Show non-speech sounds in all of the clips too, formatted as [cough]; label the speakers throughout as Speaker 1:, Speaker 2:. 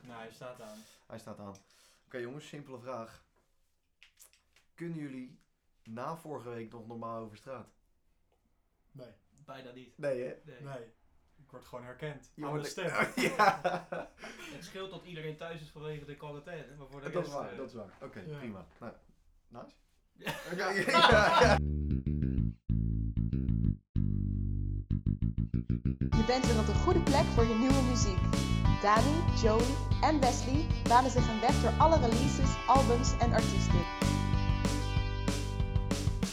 Speaker 1: Nou,
Speaker 2: hij staat aan.
Speaker 3: Hij staat aan. Oké jongens, simpele vraag. Kunnen jullie na vorige week nog normaal over straat?
Speaker 4: Nee,
Speaker 2: Bijna niet.
Speaker 3: Nee hè?
Speaker 2: Nee.
Speaker 4: nee. Ik word gewoon herkend.
Speaker 3: Je
Speaker 4: aan
Speaker 3: wordt
Speaker 4: de stem.
Speaker 3: [laughs] ja,
Speaker 2: Het scheelt dat iedereen thuis is vanwege de quarantaine. Maar voor
Speaker 3: [laughs]
Speaker 2: de
Speaker 3: dat is
Speaker 2: rest,
Speaker 3: waar,
Speaker 2: eh,
Speaker 1: [laughs]
Speaker 3: dat is waar. Oké,
Speaker 4: Ja.
Speaker 3: prima. Nou, nice.
Speaker 2: Ja.
Speaker 3: Oké, ja, ja.
Speaker 5: Je bent weer op de goede plek voor je nieuwe muziek. Dani, Joey en Wesley banen zich een weg door alle releases, albums en artiesten.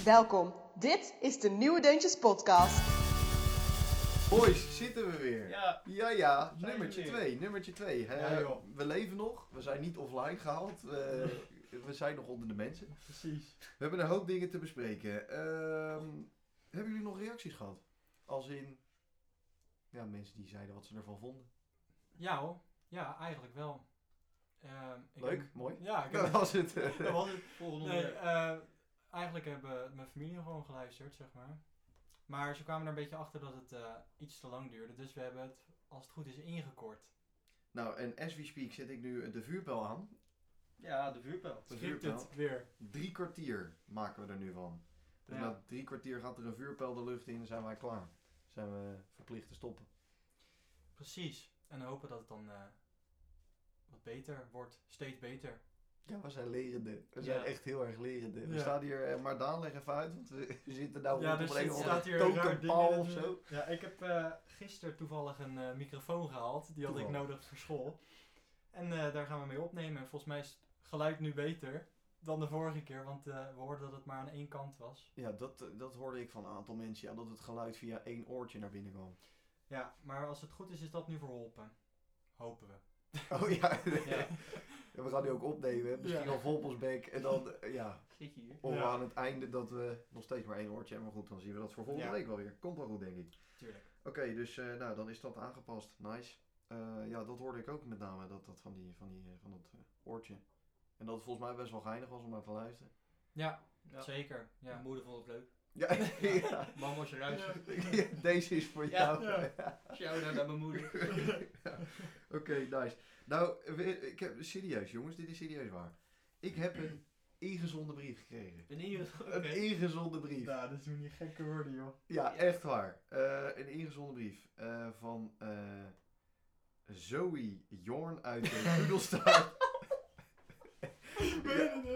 Speaker 5: Welkom, dit is de Nieuwe Deuntjes Podcast.
Speaker 3: Boys, zitten we weer.
Speaker 2: Ja,
Speaker 3: Ja, ja,
Speaker 2: Zijn
Speaker 3: nummertje
Speaker 2: we weer.
Speaker 3: 2, nummertje 2.
Speaker 4: Ja, joh.
Speaker 3: we leven nog, we zijn niet offline gehaald, eh,
Speaker 4: [laughs]
Speaker 3: we zijn nog onder de mensen.
Speaker 1: [laughs]
Speaker 4: Precies.
Speaker 3: We hebben een hoop dingen te bespreken. Ehm, hebben jullie nog reacties gehad? Als in, ja, mensen die zeiden wat ze ervan vonden.
Speaker 2: ja hoor. Ja, eigenlijk wel. Ehm, ik
Speaker 3: Leuk,
Speaker 2: heb-
Speaker 3: mooi.
Speaker 2: ja, ik heb-
Speaker 3: Dat was het.
Speaker 4: Dat was het.
Speaker 2: Volgende
Speaker 4: Nee,
Speaker 2: onderwerp.
Speaker 4: eh,
Speaker 2: Eigenlijk hebben mijn familie gewoon geluisterd, zeg maar. Maar ze kwamen er een beetje achter dat het eh, iets te lang duurde. Dus we hebben het, als het goed is,
Speaker 3: [laughs]
Speaker 2: ingekort.
Speaker 3: nou, en as we speak zet ik nu de vuurpijl aan.
Speaker 1: Ah,
Speaker 2: Ja, de vuurpijl.
Speaker 3: De
Speaker 4: schikt
Speaker 3: vuurpijl.
Speaker 4: het weer.
Speaker 3: Drie kwartier maken we er nu van. Dus
Speaker 2: Ja.
Speaker 3: na drie kwartier gaat er een vuurpijl de lucht in en zijn wij klaar. Zijn we verplicht te stoppen.
Speaker 2: Precies. En hopen dat het dan eh, wat beter wordt. Steeds beter.
Speaker 3: Ja, we zijn lerende. We
Speaker 2: Ja.
Speaker 3: zijn echt heel erg lerende. We
Speaker 4: Ja.
Speaker 3: staan hier, eh, maar Daan, leg even uit, want we, [laughs] we zitten nou
Speaker 4: Ja,
Speaker 3: op
Speaker 4: dus
Speaker 3: een
Speaker 4: het
Speaker 3: hele
Speaker 4: staat hier een raar ding
Speaker 3: tokenpaal
Speaker 4: in
Speaker 3: of
Speaker 4: het-
Speaker 3: zo.
Speaker 2: Ja, ik heb eh gisteren toevallig een eh, microfoon gehaald. Die had ik
Speaker 3: Toeval.
Speaker 2: nodig voor school. En eh, daar gaan we mee opnemen. En volgens mij is het geluid nu beter dan de vorige keer. Want eh, we hoorden dat het maar aan één kant was.
Speaker 3: Ja, dat, eh, dat hoorde ik van een aantal mensen, ja, dat het geluid via één oortje naar binnen kwam.
Speaker 2: Ja, maar als het goed is, is dat nu verholpen.
Speaker 3: [laughs]
Speaker 2: Hopen we.
Speaker 3: [laughs] Oh ja,
Speaker 2: Ja.
Speaker 3: [laughs] Ja, we gaan nu ook opnemen, misschien
Speaker 4: Ja.
Speaker 3: al vol op ons bek. En dan, eh, ja,
Speaker 2: Zit je hier?
Speaker 3: of
Speaker 4: Ja.
Speaker 3: aan het einde dat we nog steeds maar één oortje hebben. Maar goed, dan zien we dat voor volgende
Speaker 2: Ja.
Speaker 3: week wel weer. Komt wel goed, denk ik.
Speaker 2: Tuurlijk.
Speaker 3: Oké, dus eh, nou, dan is dat aangepast. Nice. Eh, ja, dat hoorde ik ook met name, dat, dat van, die, van, die, eh, van dat eh, oortje. En dat het volgens mij best wel geinig was om naar te luisteren.
Speaker 2: Ja,
Speaker 1: Ja.
Speaker 2: zeker. Ja.
Speaker 1: Mijn moeder vond het leuk.
Speaker 3: Ja, [laughs] ja.
Speaker 1: Mam als je ruist. [laughs]
Speaker 3: Deze is voor
Speaker 1: Ja.
Speaker 3: jou.
Speaker 4: Ja.
Speaker 1: Shout-out naar mijn moeder.
Speaker 3: [laughs] Oké, nice. Nou, we- ik heb, serieus jongens, dit is serieus waar. Ik heb een ingezonden brief gekregen.
Speaker 1: Ben je? [laughs]
Speaker 3: Een
Speaker 4: [laughs]
Speaker 3: ingezonden brief.
Speaker 4: Nou, dat doen die gekke woorden, joh.
Speaker 3: Ja, echt waar. Eh, een ingezonden brief eh, van eh, Zoe Jorn uit de Poedelstaart.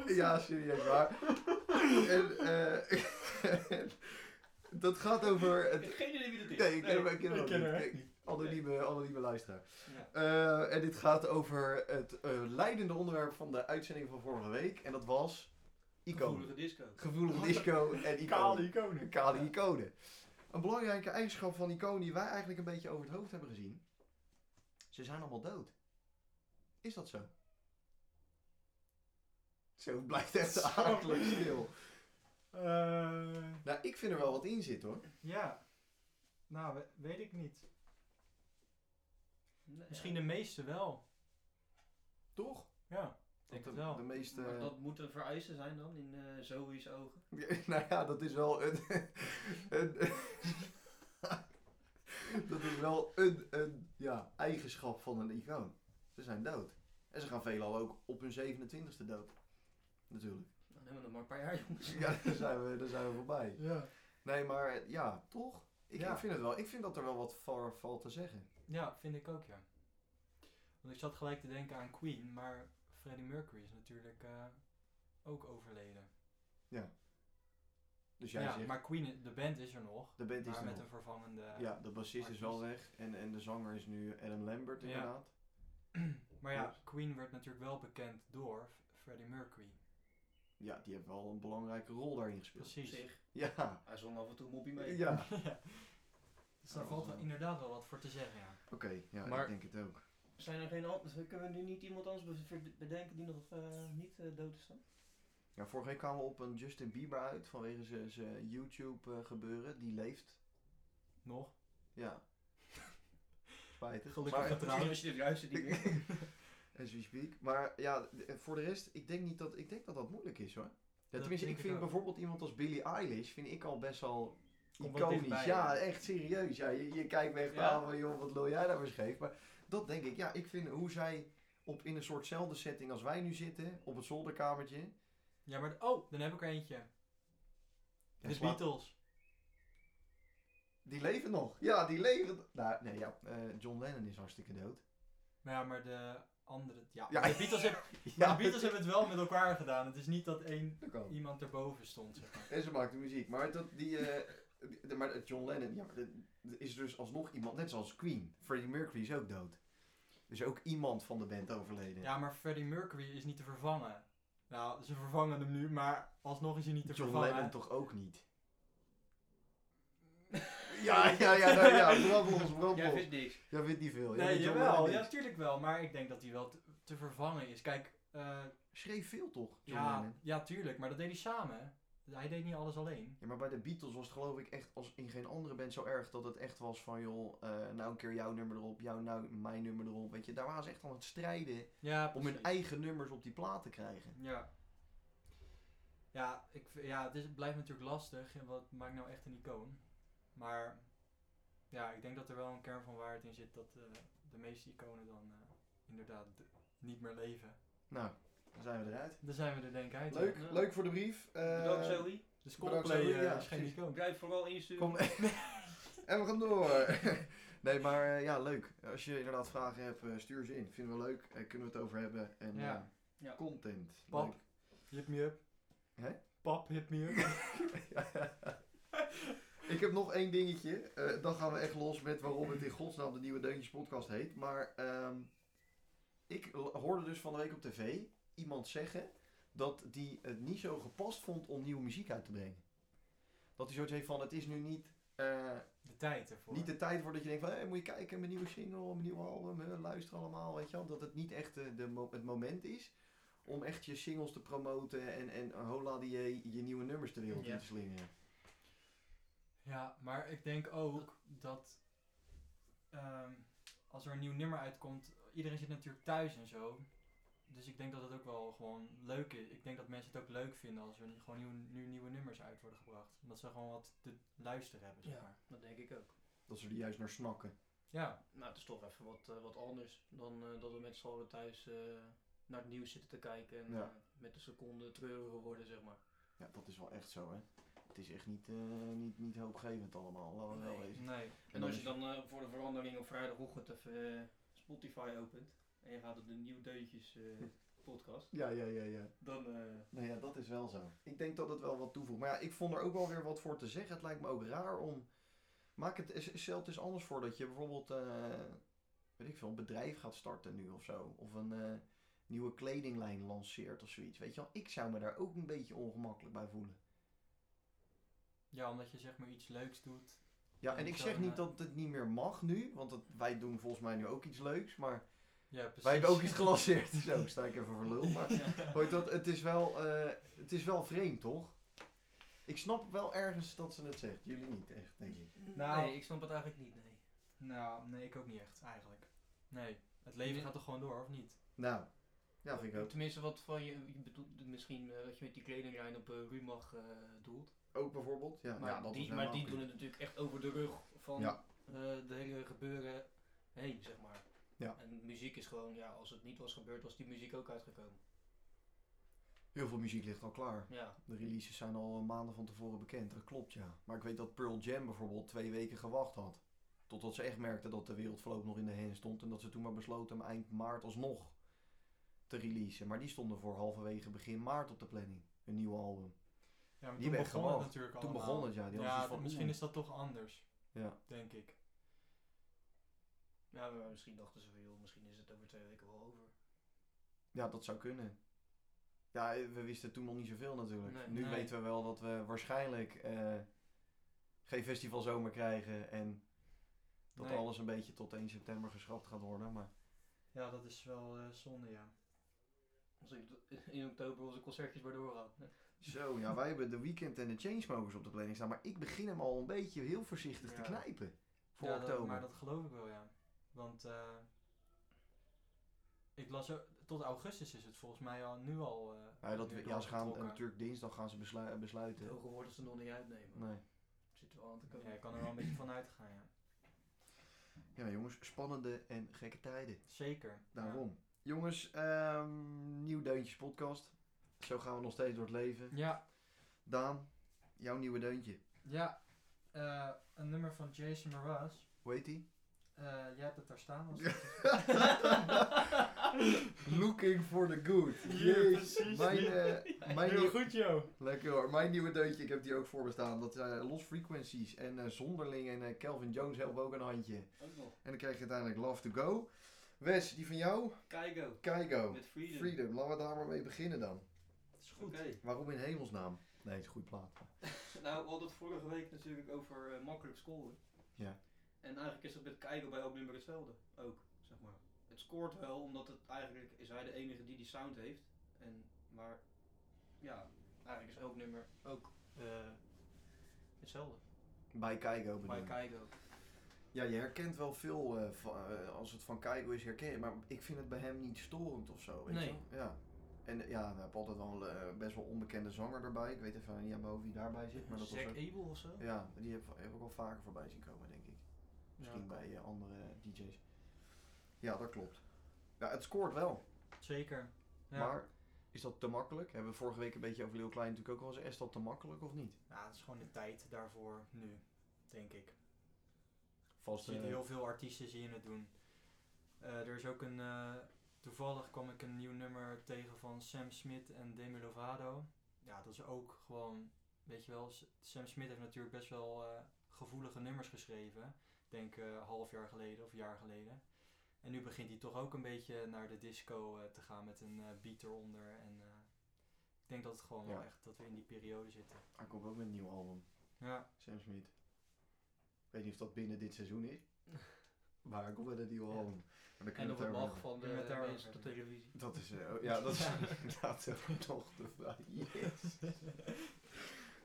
Speaker 3: ja, ja, serieus waar. En, eh, [laughs] dat gaat over...
Speaker 1: Ik
Speaker 3: Het,
Speaker 1: heb geen idee wie dat is.
Speaker 3: Nee, ik ken hem, ik ken hem
Speaker 4: ik
Speaker 3: ook
Speaker 4: ken
Speaker 3: niet.
Speaker 4: haar
Speaker 3: Kijk, Anonieme, anonieme luisteraar.
Speaker 1: Ja.
Speaker 3: Eh, en dit gaat over het eh, leidende onderwerp van de uitzending van vorige week. En dat was icoon.
Speaker 1: Gevoelige disco.
Speaker 3: Gevoelige disco en icoon.
Speaker 4: Kale iconen.
Speaker 3: Een kale icoon. Een belangrijke eigenschap van icoon die wij eigenlijk een beetje over het hoofd hebben gezien. Ze zijn allemaal dood. Is dat zo? Zo het blijft echt
Speaker 4: [laughs] Zo.
Speaker 3: aardelijk stil.
Speaker 4: Eh,
Speaker 3: Nou, ik vind er wel wat in zit hoor.
Speaker 2: ja. Nou, we- weet ik niet.
Speaker 1: Nee,
Speaker 2: Misschien de meeste wel.
Speaker 3: Toch?
Speaker 2: Ja, denk
Speaker 3: de,
Speaker 2: het wel.
Speaker 3: de meeste...
Speaker 1: Maar dat moet een vereiste zijn dan, in eh Zoe's ogen.
Speaker 3: Ja, [laughs] Nou ja, dat is wel een. [laughs] een [laughs] dat is wel een, een ja, eigenschap van een icoon. Ze zijn dood. En ze gaan veelal ook op hun 27e dood. Natuurlijk. [laughs]
Speaker 1: Dan hebben we nog maar een paar jaar, [laughs] jongens.
Speaker 3: Ja, daar [laughs] zijn we, daar zijn we voorbij.
Speaker 4: ja.
Speaker 3: Nee, maar ja, toch? Ik,
Speaker 2: Ja.
Speaker 3: ik vind het wel. Ik vind dat er wel wat voor valt te zeggen.
Speaker 2: Ja, vind ik ook, ja. Want ik zat gelijk te denken aan Queen, maar Freddie Mercury is natuurlijk eh, ook overleden.
Speaker 3: Dus jij
Speaker 2: Ja,
Speaker 3: zegt,
Speaker 2: maar Queen, de band is er nog,
Speaker 3: de band is
Speaker 2: maar
Speaker 3: er
Speaker 2: met
Speaker 3: nog.
Speaker 2: een vervangende...
Speaker 3: Ja, de bassist is wel
Speaker 2: artiest.
Speaker 3: weg. En, en de zanger is nu Adam Lambert
Speaker 2: Ja.
Speaker 3: inderdaad.
Speaker 2: Maar ja, Queen werd natuurlijk wel bekend door F- Freddie Mercury.
Speaker 3: Ja, die heeft wel een belangrijke rol daarin gespeeld.
Speaker 1: Op
Speaker 2: Precies.
Speaker 1: zich.
Speaker 3: Ja.
Speaker 1: Hij zong af en toe een moppie mee.
Speaker 3: Ja.
Speaker 2: Ja. [laughs] Dus daar
Speaker 3: Oh,
Speaker 2: valt wel
Speaker 3: zo.
Speaker 2: inderdaad wel wat voor te zeggen, ja.
Speaker 3: Oké, ja,
Speaker 1: Maar-
Speaker 3: ik denk het ook.
Speaker 1: Zijn er geen andere? Kunnen we nu niet iemand anders be- ver- bedenken die nog eh, niet eh, dood is dan?
Speaker 3: Ja, vorige week kwamen we op een Justin Bieber uit vanwege zijn- zijn YouTube-gebeuren. eh, Die leeft.
Speaker 2: Nog? [laughs]
Speaker 3: Ja. Spijtig.
Speaker 2: Gelukkig
Speaker 3: maar,
Speaker 2: getrouwd.
Speaker 1: Misschien als je dit luistert niet
Speaker 3: [laughs]
Speaker 1: meer.
Speaker 3: As we speak. Maar ja, d- voor de rest, ik denk, niet dat, ik denk dat dat moeilijk is hoor. Ja,
Speaker 2: Dat
Speaker 3: tenminste,
Speaker 2: denk
Speaker 3: ik
Speaker 2: ik
Speaker 3: vind
Speaker 2: ook.
Speaker 3: bijvoorbeeld iemand als Billie Eilish vind ik al best wel
Speaker 2: Komt wel
Speaker 3: iconisch.
Speaker 2: dichtbij,
Speaker 3: ja,
Speaker 2: hè?
Speaker 3: echt serieus. Ja, je, je kijkt me echt
Speaker 1: Ja.
Speaker 3: aan van, joh, wat lul jij daarvoor scheef. Maar dat denk ik, ja, ik vind hoe zij op, in een soortzelfde setting als wij nu zitten, op het zolderkamertje.
Speaker 2: Ja, maar... Oh, dan heb ik er eentje.
Speaker 3: Ja,
Speaker 2: de
Speaker 3: slaap-
Speaker 2: Beatles.
Speaker 3: Die leven nog. Ja, die leven. Nou, nee, ja. eh, John Lennon is hartstikke
Speaker 2: [laughs]
Speaker 3: dood.
Speaker 2: Maar ja, maar de andere... Ja,
Speaker 3: Ja.
Speaker 2: de Beatles,
Speaker 3: [laughs]
Speaker 2: heb, maar de Beatles hebben het wel met elkaar gedaan. Het is niet dat één
Speaker 3: dat kan.
Speaker 2: iemand erboven stond, zeg maar.
Speaker 3: En ze maakte muziek. Maar dat die. eh, de- maar dat John Lennon, ja, maar dat- dat is dus alsnog iemand, net zoals Queen. Freddie Mercury is ook dood. Dus ook iemand van de band overleden.
Speaker 2: Ja, maar Freddie Mercury is niet te vervangen. Nou, ze vervangen hem nu, maar alsnog is hij niet te
Speaker 3: John
Speaker 2: vervangen. [laughs]
Speaker 3: Lennon toch ook niet? Ja, ja, ja, nou, ja, brandlos, brandlos.
Speaker 1: Jij vindt niks.
Speaker 3: Jij vindt niet veel. Jij
Speaker 2: Nee,
Speaker 3: vindt Oh, John
Speaker 2: jawel.
Speaker 3: Lennon
Speaker 2: Ja,
Speaker 3: niks.
Speaker 2: natuurlijk wel. Maar ik denk dat hij wel te, te vervangen is. Kijk, eh,
Speaker 3: Schreef veel toch, John
Speaker 2: ja,
Speaker 3: Lennon?
Speaker 2: ja, tuurlijk. Maar dat deed hij samen. hè. Hij deed niet alles alleen.
Speaker 3: Ja, maar bij de Beatles was het geloof ik echt als in geen andere band zo erg dat het echt was van joh, eh, nou een keer jouw nummer erop, jouw nou mijn nummer erop. Weet je, daar waren ze echt aan het strijden
Speaker 2: Ja,
Speaker 3: om hun
Speaker 2: precies.
Speaker 3: eigen nummers op die plaat te krijgen.
Speaker 2: Ja. Ja, ik, v- ja het, is, het blijft natuurlijk lastig. en Wat maakt nou echt een icoon? Maar ja, ik denk dat er wel een kern van waarheid in zit dat eh, de meeste iconen dan eh, inderdaad d- niet meer leven.
Speaker 3: Nou, dan zijn we eruit.
Speaker 2: Daar zijn we er denk ik uit.
Speaker 3: Leuk,
Speaker 1: Ja.
Speaker 3: leuk voor de brief. Eh,
Speaker 1: Bedankt Zoe.
Speaker 2: Dus
Speaker 3: Bedankt,
Speaker 2: Coldplay
Speaker 3: Sander.
Speaker 2: eh,
Speaker 3: Ja,
Speaker 2: is geen
Speaker 3: precies.
Speaker 2: icoon.
Speaker 1: Blijf vooral insturen.
Speaker 3: Kom. [laughs] en we gaan door. [laughs] nee, maar eh, ja, leuk. Als je inderdaad vragen hebt, eh, stuur ze in. Vinden we leuk. Eh, kunnen we het over hebben. En
Speaker 2: Ja.
Speaker 3: eh,
Speaker 1: Ja.
Speaker 3: content.
Speaker 2: Pap.
Speaker 3: Leuk.
Speaker 2: Hit me up.
Speaker 3: Hè?
Speaker 2: Pap, hit me up.
Speaker 3: [laughs] Ik heb nog één dingetje. Eh, dan gaan we echt los met waarom het in godsnaam de Nieuwe Deuntjes podcast heet. Maar ehm, ik l- hoorde dus van de week op tv iemand zeggen dat die het niet zo gepast vond om nieuwe muziek uit te brengen. Dat hij zoiets heeft van, het is nu niet, eh,
Speaker 2: De tijd ervoor.
Speaker 3: niet de tijd voor dat je denkt van, hé, moet je kijken, mijn nieuwe single, mijn nieuwe album, hè, luister allemaal, weet je wel. Dat het niet echt eh, de mo- het moment is om echt je singles te promoten en, en eh, hola die je, je nieuwe nummers ter wereld in
Speaker 1: Ja.
Speaker 3: te slingeren.
Speaker 2: Ja, maar ik denk ook dat ehm, als er een nieuw nummer uitkomt, iedereen zit natuurlijk thuis en zo. Dus ik denk dat het ook wel gewoon leuk is. Ik denk dat mensen het ook leuk vinden als er nu- gewoon nieuw, nu nieuwe nummers uit worden gebracht. Omdat ze gewoon wat te luisteren hebben, zeg maar.
Speaker 1: Dat denk ik ook.
Speaker 3: Dat ze er juist naar snakken.
Speaker 2: Ja,
Speaker 1: Nou, het is toch even wat, eh, wat anders dan eh, dat we met z'n allen thuis eh, naar het nieuws zitten te kijken en
Speaker 3: Ja.
Speaker 1: eh, met de seconde treuriger worden, zeg maar.
Speaker 3: Ja, dat is wel echt zo, hè. Het is echt niet, eh, niet, niet hoopgevend allemaal, laten we wel
Speaker 1: Nee.
Speaker 3: wezen.
Speaker 2: nee.
Speaker 1: En als je dan eh, voor de verandering op vrijdagochtend even eh, Spotify opent en je gaat op de Nieuw Deuntjes [laughs] eh, podcast,
Speaker 3: Ja, ja, ja, ja.
Speaker 1: dan... eh,
Speaker 3: Nou ja, dat is wel zo. Ik denk dat het wel wat toevoegt. Maar ja, ik vond er ook wel weer wat voor te zeggen. Het lijkt me ook raar om... Maak het, is- stel het eens anders voor dat je bijvoorbeeld, eh, weet ik veel, een bedrijf gaat starten nu of zo. Of een eh, nieuwe kledinglijn lanceert of zoiets. Weet je wel, ik zou me daar ook een beetje ongemakkelijk bij voelen.
Speaker 2: Ja, omdat je zeg maar iets leuks doet.
Speaker 3: Ja, en
Speaker 2: Ik
Speaker 3: ik
Speaker 2: zou
Speaker 3: zeg
Speaker 2: een,
Speaker 3: niet
Speaker 2: eh,
Speaker 3: dat het niet meer mag nu, want het- wij doen volgens mij nu ook iets leuks, maar...
Speaker 2: Ja, precies.
Speaker 3: Wij hebben ook iets gelanceerd. Zo, sta ik even voor lul.
Speaker 1: [laughs]
Speaker 3: Maar
Speaker 1: Ja.
Speaker 3: hoor je dat, het, is wel, eh, het is wel vreemd, toch? Ik snap wel ergens dat ze het zegt. Jullie niet echt, denk ik.
Speaker 2: Nou-
Speaker 1: nee, ik snap het eigenlijk niet, nee.
Speaker 2: Nou, nee, ik ook niet echt, eigenlijk. Nee, het leven
Speaker 1: Nee.
Speaker 2: gaat toch gewoon door, of niet?
Speaker 3: Nou, ja, vind ik ook.
Speaker 1: Tenminste, wat van je, je bedoelt misschien eh, dat je met die kledinglijn op eh, Rumach eh, doelt.
Speaker 3: Ook bijvoorbeeld. Ja,
Speaker 1: Maar
Speaker 3: ja, dat is
Speaker 1: Nou, die, maar
Speaker 3: helemaal
Speaker 1: die
Speaker 3: prima.
Speaker 1: doen het natuurlijk echt over de rug van
Speaker 3: Ja.
Speaker 1: eh, de hele gebeuren heen, zeg maar.
Speaker 3: Ja.
Speaker 1: En muziek is gewoon, ja, als het niet was gebeurd, was die muziek ook uitgekomen.
Speaker 3: Heel veel muziek ligt al klaar.
Speaker 1: Ja,
Speaker 3: De releases zijn al eh, maanden van tevoren bekend. Dat klopt, ja. Maar ik weet dat Pearl Jam bijvoorbeeld twee weken gewacht had. Totdat ze echt merkte dat de wereld voorlopig nog in de hen stond. En dat ze toen maar besloten hem eind maart alsnog te releasen. Maar die stonden voor halverwege begin maart op de planning. Een nieuw album.
Speaker 2: Ja, maar
Speaker 3: Die
Speaker 2: toen
Speaker 3: hebben echt
Speaker 2: begon het
Speaker 3: gewacht.
Speaker 2: natuurlijk
Speaker 3: Toen
Speaker 2: allemaal.
Speaker 3: begon het, ja. Die hadden
Speaker 2: Ja,
Speaker 3: zoiets van,
Speaker 2: misschien
Speaker 3: oeh.
Speaker 2: is dat toch anders.
Speaker 3: Ja.
Speaker 2: Denk ik.
Speaker 1: ja maar misschien dachten ze van, joh, misschien is het over twee weken wel over.
Speaker 3: Ja, dat zou kunnen. Ja, we wisten toen nog niet zoveel natuurlijk.
Speaker 1: Nee.
Speaker 3: nu
Speaker 2: Nee.
Speaker 3: weten we wel dat we waarschijnlijk eh, geen festival zomer krijgen. En dat
Speaker 2: Nee.
Speaker 3: alles een beetje tot 1 september geschrapt gaat worden. Maar
Speaker 2: Ja, dat is wel eh, zonde, ja.
Speaker 1: Als in, in oktober onze concertjes maar doorgaan.
Speaker 3: zo, ja, wij hebben de Weekend en de Chainsmokers op de planning staan. Maar ik begin hem al een beetje heel voorzichtig te
Speaker 2: Ja.
Speaker 3: knijpen. Voor
Speaker 2: ja, dat-
Speaker 3: oktober.
Speaker 2: maar dat geloof ik wel, ja. Want eh, ik las ook, tot augustus is het volgens mij al, nu al. eh,
Speaker 3: ja, dat,
Speaker 2: weer
Speaker 3: ja, ze gaan eh,
Speaker 2: doorgetrokken.
Speaker 3: natuurlijk dinsdag gaan ze beslu- besluiten.
Speaker 1: De hoge woorden ze nog niet uitnemen.
Speaker 3: Nee.
Speaker 1: Zit er wel aan te komen.
Speaker 2: Ja, ik kan er wel een beetje van uitgaan, ja.
Speaker 3: Ja, jongens, spannende en gekke tijden.
Speaker 2: Zeker. ja.
Speaker 3: Daarom. Jongens, ehm nieuw deuntjes podcast. Zo gaan we nog steeds door het leven.
Speaker 2: Ja,
Speaker 3: Daan, jouw nieuwe deuntje.
Speaker 2: ja. Eh, een nummer van Jason Mraz.
Speaker 3: Hoe heet die?
Speaker 2: Eh, jij hebt het daar staan. Als het is.
Speaker 3: [laughs] Looking for the good.
Speaker 4: Ja, precies.
Speaker 3: Mijn, eh, mijn,
Speaker 4: Heel
Speaker 3: nieuw-
Speaker 4: goed, joh.
Speaker 3: Lekker hoor. Mijn nieuwe deuntje, ik heb die ook voor me staan. Dat zijn Lost Frequencies en eh, Zonderling en eh, Calvin Jones helpen ook een handje. En
Speaker 1: Ook nog.
Speaker 3: dan krijg je uiteindelijk Love to Go. Wes, die van jou?
Speaker 1: Keigo.
Speaker 3: Keigo.
Speaker 1: Met Freedom.
Speaker 3: Oh. Freedom. Laten we daar maar mee beginnen dan.
Speaker 2: Het is
Speaker 1: Oké.
Speaker 2: goed.
Speaker 3: Waarom in hemelsnaam? Nee, het is een goede plaat.
Speaker 1: Nou, we hadden het vorige week natuurlijk over eh, makkelijk scoren.
Speaker 3: Ja.
Speaker 1: En eigenlijk is dat met Keigo bij elk nummer hetzelfde. Ook, zeg maar. Het scoort wel, omdat het eigenlijk is hij de enige die die sound heeft. En, maar, ja, eigenlijk is elk nummer ook eh, hetzelfde.
Speaker 3: Bij Keigo bedoel
Speaker 1: Bij
Speaker 3: ik.
Speaker 1: Keigo.
Speaker 3: Ja, je herkent wel veel eh, van, eh, als het van Keigo is herkend, maar ik vind het bij hem niet storend of zo. Weet
Speaker 1: Nee.
Speaker 3: Je? wel? Ja. En eh, ja, we hebben altijd wel een eh, best wel onbekende zanger erbij. Ik weet even niet aan boven wie daarbij zit, maar dat was
Speaker 1: Zack
Speaker 3: ook-
Speaker 1: Abel of zo?
Speaker 3: Ja, die heb, heb ik wel vaker voorbij zien komen, denk ik. Misschien
Speaker 2: Ja,
Speaker 3: bij eh, andere DJ's. Ja, dat klopt. Ja, het scoort wel.
Speaker 2: Zeker. Ja.
Speaker 3: Maar is dat te makkelijk? Hebben we vorige week een beetje over Leeuw Klein natuurlijk ook wel eens. Is dat te makkelijk of niet?
Speaker 2: Ja, het is gewoon de tijd daarvoor nu, denk ik.
Speaker 3: Vast
Speaker 2: je ziet
Speaker 3: eh,
Speaker 2: heel veel artiesten zien het doen. Eh, er is ook een. eh, toevallig kwam ik een nieuw nummer tegen van Sam Smith en Demi Lovato. Ja, dat is ook gewoon. Weet je wel, S- Sam Smith heeft natuurlijk best wel eh, gevoelige nummers geschreven. Ik Denk eh, een half jaar geleden of een jaar geleden. En nu begint hij toch ook een beetje naar de disco eh, te gaan met een eh, beat eronder. En eh, ik denk dat het gewoon wel
Speaker 3: Ja.
Speaker 2: echt dat we in die periode zitten.
Speaker 3: Hij komt ook met een nieuw album.
Speaker 2: Ja,
Speaker 3: Sam Smith. Ik weet niet of dat binnen dit seizoen is.
Speaker 1: [laughs]
Speaker 3: Maar hij komt met een nieuw
Speaker 2: Ja.
Speaker 3: album. Maar dan kunnen
Speaker 1: En
Speaker 3: we
Speaker 1: op het mag
Speaker 3: daarover hebben.
Speaker 1: van de
Speaker 2: Kunnen we het daarover
Speaker 1: mensen op de
Speaker 2: hebben?
Speaker 1: televisie.
Speaker 3: Dat is, eh, ja, dat is [laughs] inderdaad ook nog de vraag. Yes.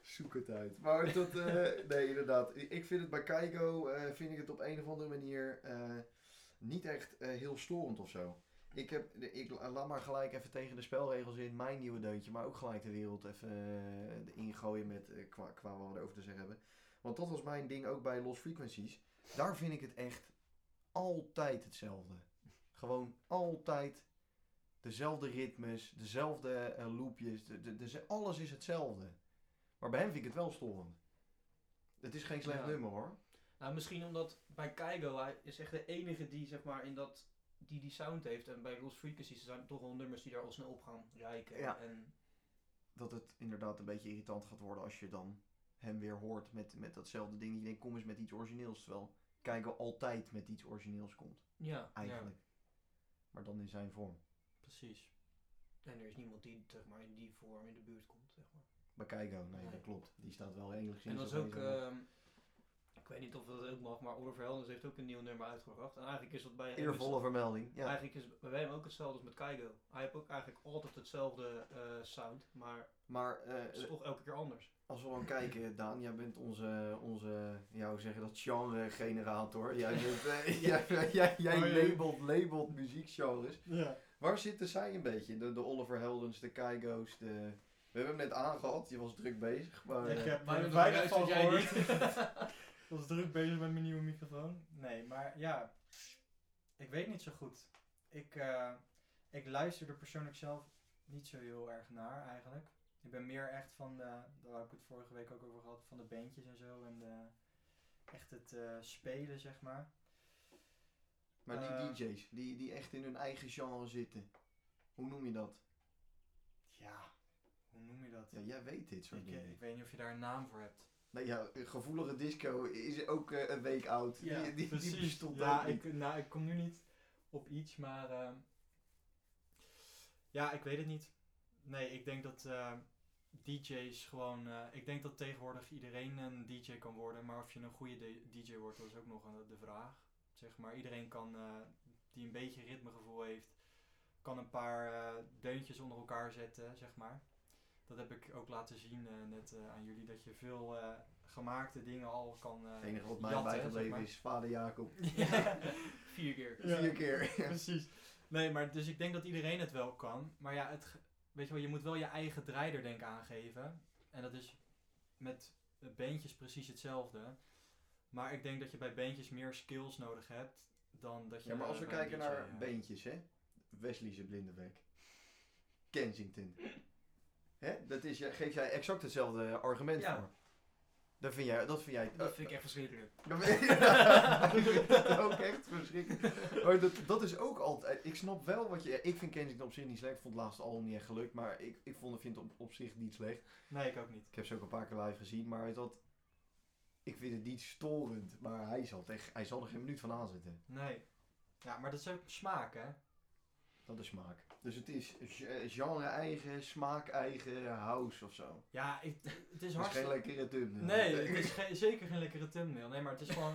Speaker 3: Zoek het uit. Maar dat, eh, nee, inderdaad. Ik vind het bij Keigo, eh, vind ik het op een of andere manier eh, niet echt eh, heel storend of zo. Ik, heb, de- ik la- laat maar gelijk even tegen de spelregels in mijn nieuwe deuntje, maar ook gelijk de wereld even eh, ingooien met eh, qua, qua wat we erover te zeggen hebben. Want dat was mijn ding ook bij Lost Frequencies. Daar vind ik het echt altijd hetzelfde. Gewoon altijd dezelfde ritmes, dezelfde eh, loopjes, de, de, de- alles is hetzelfde. Maar bij hem vind ik het wel storend. Het is geen slecht
Speaker 1: Ja.
Speaker 3: nummer hoor.
Speaker 1: Nou, misschien omdat bij Keigo, hij is echt de enige die zeg maar in dat die die sound heeft. En bij Lost Frequencies zijn er toch wel nummers die daar al snel op gaan rijken.
Speaker 3: Ja.
Speaker 1: En
Speaker 3: Dat het inderdaad een beetje irritant gaat worden als je dan hem weer hoort met, met datzelfde ding. Je denkt, kom eens met iets origineels. Terwijl Keigo altijd met iets origineels komt,
Speaker 1: ja,
Speaker 3: eigenlijk. Maar dan in zijn vorm.
Speaker 2: precies.
Speaker 1: en er is niemand die zeg maar in die vorm in de buurt komt. Zeg maar.
Speaker 3: Bij Keigo, nee,
Speaker 1: Nee.
Speaker 3: dat klopt. Die staat wel enigszins...
Speaker 1: En dat is
Speaker 3: op
Speaker 1: ook,
Speaker 3: deze-
Speaker 1: ehm, ik weet niet of dat ook mag, maar Oliver Heldens heeft ook een nieuw nummer uitgebracht. En eigenlijk is dat bij hem
Speaker 3: Eervolle vermelding. Ja.
Speaker 1: Eigenlijk is het bij hem ook hetzelfde als met Keigo. Hij heeft ook eigenlijk altijd hetzelfde eh, sound, maar
Speaker 3: Maar
Speaker 1: het
Speaker 3: eh,
Speaker 2: dus-
Speaker 1: is toch elke keer anders.
Speaker 3: [laughs] Als we dan kijken,
Speaker 2: [clears throat]
Speaker 3: Daan, jij bent onze, onze ja, hoe zeg je dat, genre-generator. Jij, bent, eh, [laughs] jij, jij, jij
Speaker 4: Oh, ja.
Speaker 3: labelt, labelt muziekgenres.
Speaker 4: Ja.
Speaker 3: Waar zitten zij een beetje? De, de Oliver Heldens, de Keigo's, de... We hebben hem net aangehad, je was druk bezig. Maar,
Speaker 4: Ik
Speaker 3: eh,
Speaker 4: heb
Speaker 2: Maar
Speaker 4: er
Speaker 2: dan
Speaker 4: weinig
Speaker 2: luister
Speaker 4: van
Speaker 2: jij
Speaker 4: gehoord.
Speaker 2: [laughs]
Speaker 4: Ik was druk bezig met mijn nieuwe microfoon.
Speaker 2: Nee, maar ja, ik weet niet zo goed. Ik, eh, ik luister er persoonlijk zelf niet zo heel erg naar eigenlijk. Ik ben meer echt van de, daar heb ik het vorige week ook over gehad, van de bandjes en zo. En de, echt het eh, spelen, zeg maar.
Speaker 3: maar die
Speaker 2: eh,
Speaker 3: DJ's, die, die echt in hun eigen genre zitten. Hoe noem je dat?
Speaker 2: Ja, hoe noem je dat?
Speaker 3: Ja, jij weet dit soort
Speaker 2: ik, eh,
Speaker 3: dingen.
Speaker 2: ik weet niet of je daar een naam voor hebt.
Speaker 3: Nee, ja, gevoelige disco is ook eh, een week oud.
Speaker 2: Ja,
Speaker 3: die, die, die bestond
Speaker 2: ja,
Speaker 3: ook niet.
Speaker 2: ik, nou, ik kom nu niet op iets, maar... ehm, ja, ik weet het niet. Nee, ik denk dat ehm, DJ's gewoon... eh, ik denk dat tegenwoordig iedereen een DJ kan worden. Maar of je een goede de- DJ wordt, dat is ook nog een- de vraag. Zeg maar, iedereen kan, eh, die een beetje ritmegevoel heeft... kan een paar eh, deuntjes onder elkaar zetten, zeg maar. Dat heb ik ook laten zien eh, net eh, aan jullie. Dat je veel eh, gemaakte dingen al kan... eh,
Speaker 3: Het [laughs] enige wat mij
Speaker 2: jatten,
Speaker 3: bijgebleven
Speaker 2: zeg maar.
Speaker 3: is vader Jacob.
Speaker 2: [laughs] ja.
Speaker 1: Vier keer.
Speaker 4: Ja.
Speaker 3: Vier keer.
Speaker 4: Precies.
Speaker 2: Nee, maar dus ik denk dat iedereen het wel kan. Maar ja, het, ge- weet je wel, je moet wel je eigen draai er denk ik aangeven. En dat is met beentjes precies hetzelfde. Maar ik denk dat je bij beentjes meer skills nodig hebt dan dat je...
Speaker 3: Ja, maar als we
Speaker 2: bij een
Speaker 3: kijken
Speaker 2: eh, DJ, [laughs]
Speaker 3: naar
Speaker 2: ja.
Speaker 3: beentjes, [laughs] hè. Wesley zijn blinde bek. Kensington. Hè? Dat is, ja, geef jij exact hetzelfde argument
Speaker 6: Ja.
Speaker 3: voor. Dat vind jij... Dat vind jij eh,
Speaker 2: Dat vind ik echt verschrikkelijk.
Speaker 3: [laughs] Dat vind ik- Ja, ik vind dat ook echt verschrikkelijk. Maar dat, dat is ook altijd... Ik snap wel wat je... ja, ik vind Kensington op zich niet slecht. Ik vond het laatste album niet echt gelukt. Maar ik, ik vond, vind het op, op zich niet slecht.
Speaker 2: Nee, ik ook niet.
Speaker 3: Ik heb ze ook een paar keer live gezien, maar dat, ik vind het niet storend. Maar hij zal, echt, hij zal er geen minuut van aanzitten.
Speaker 2: Nee. Ja, maar dat is ook smaak, hè?
Speaker 3: Dat is smaak. Dus het is ge- genre-eigen, smaak-eigen, house of zo.
Speaker 2: Ja, ik, het is
Speaker 3: Dat is geen
Speaker 2: hartstikke...
Speaker 3: lekkere thumbnail.
Speaker 2: Nee,
Speaker 3: [laughs]
Speaker 2: het is geen- zeker geen lekkere thumbnail. Nee, maar het is gewoon...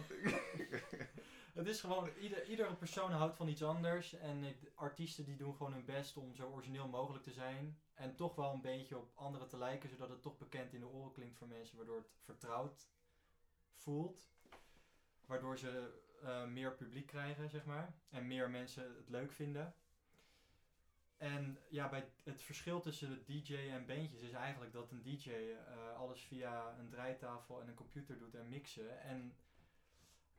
Speaker 2: Het is gewoon, ieder, iedere persoon houdt van iets anders. En ik, artiesten die doen gewoon hun best om zo origineel mogelijk te zijn. En toch wel een beetje op anderen te lijken, zodat het toch bekend in de oren klinkt voor mensen. Waardoor het vertrouwd voelt. Waardoor ze eh, meer publiek krijgen, zeg maar. En meer mensen het leuk vinden. En ja, bij het verschil tussen de DJ en bandjes is eigenlijk dat een DJ eh, alles via een draaitafel en een computer doet en mixen. En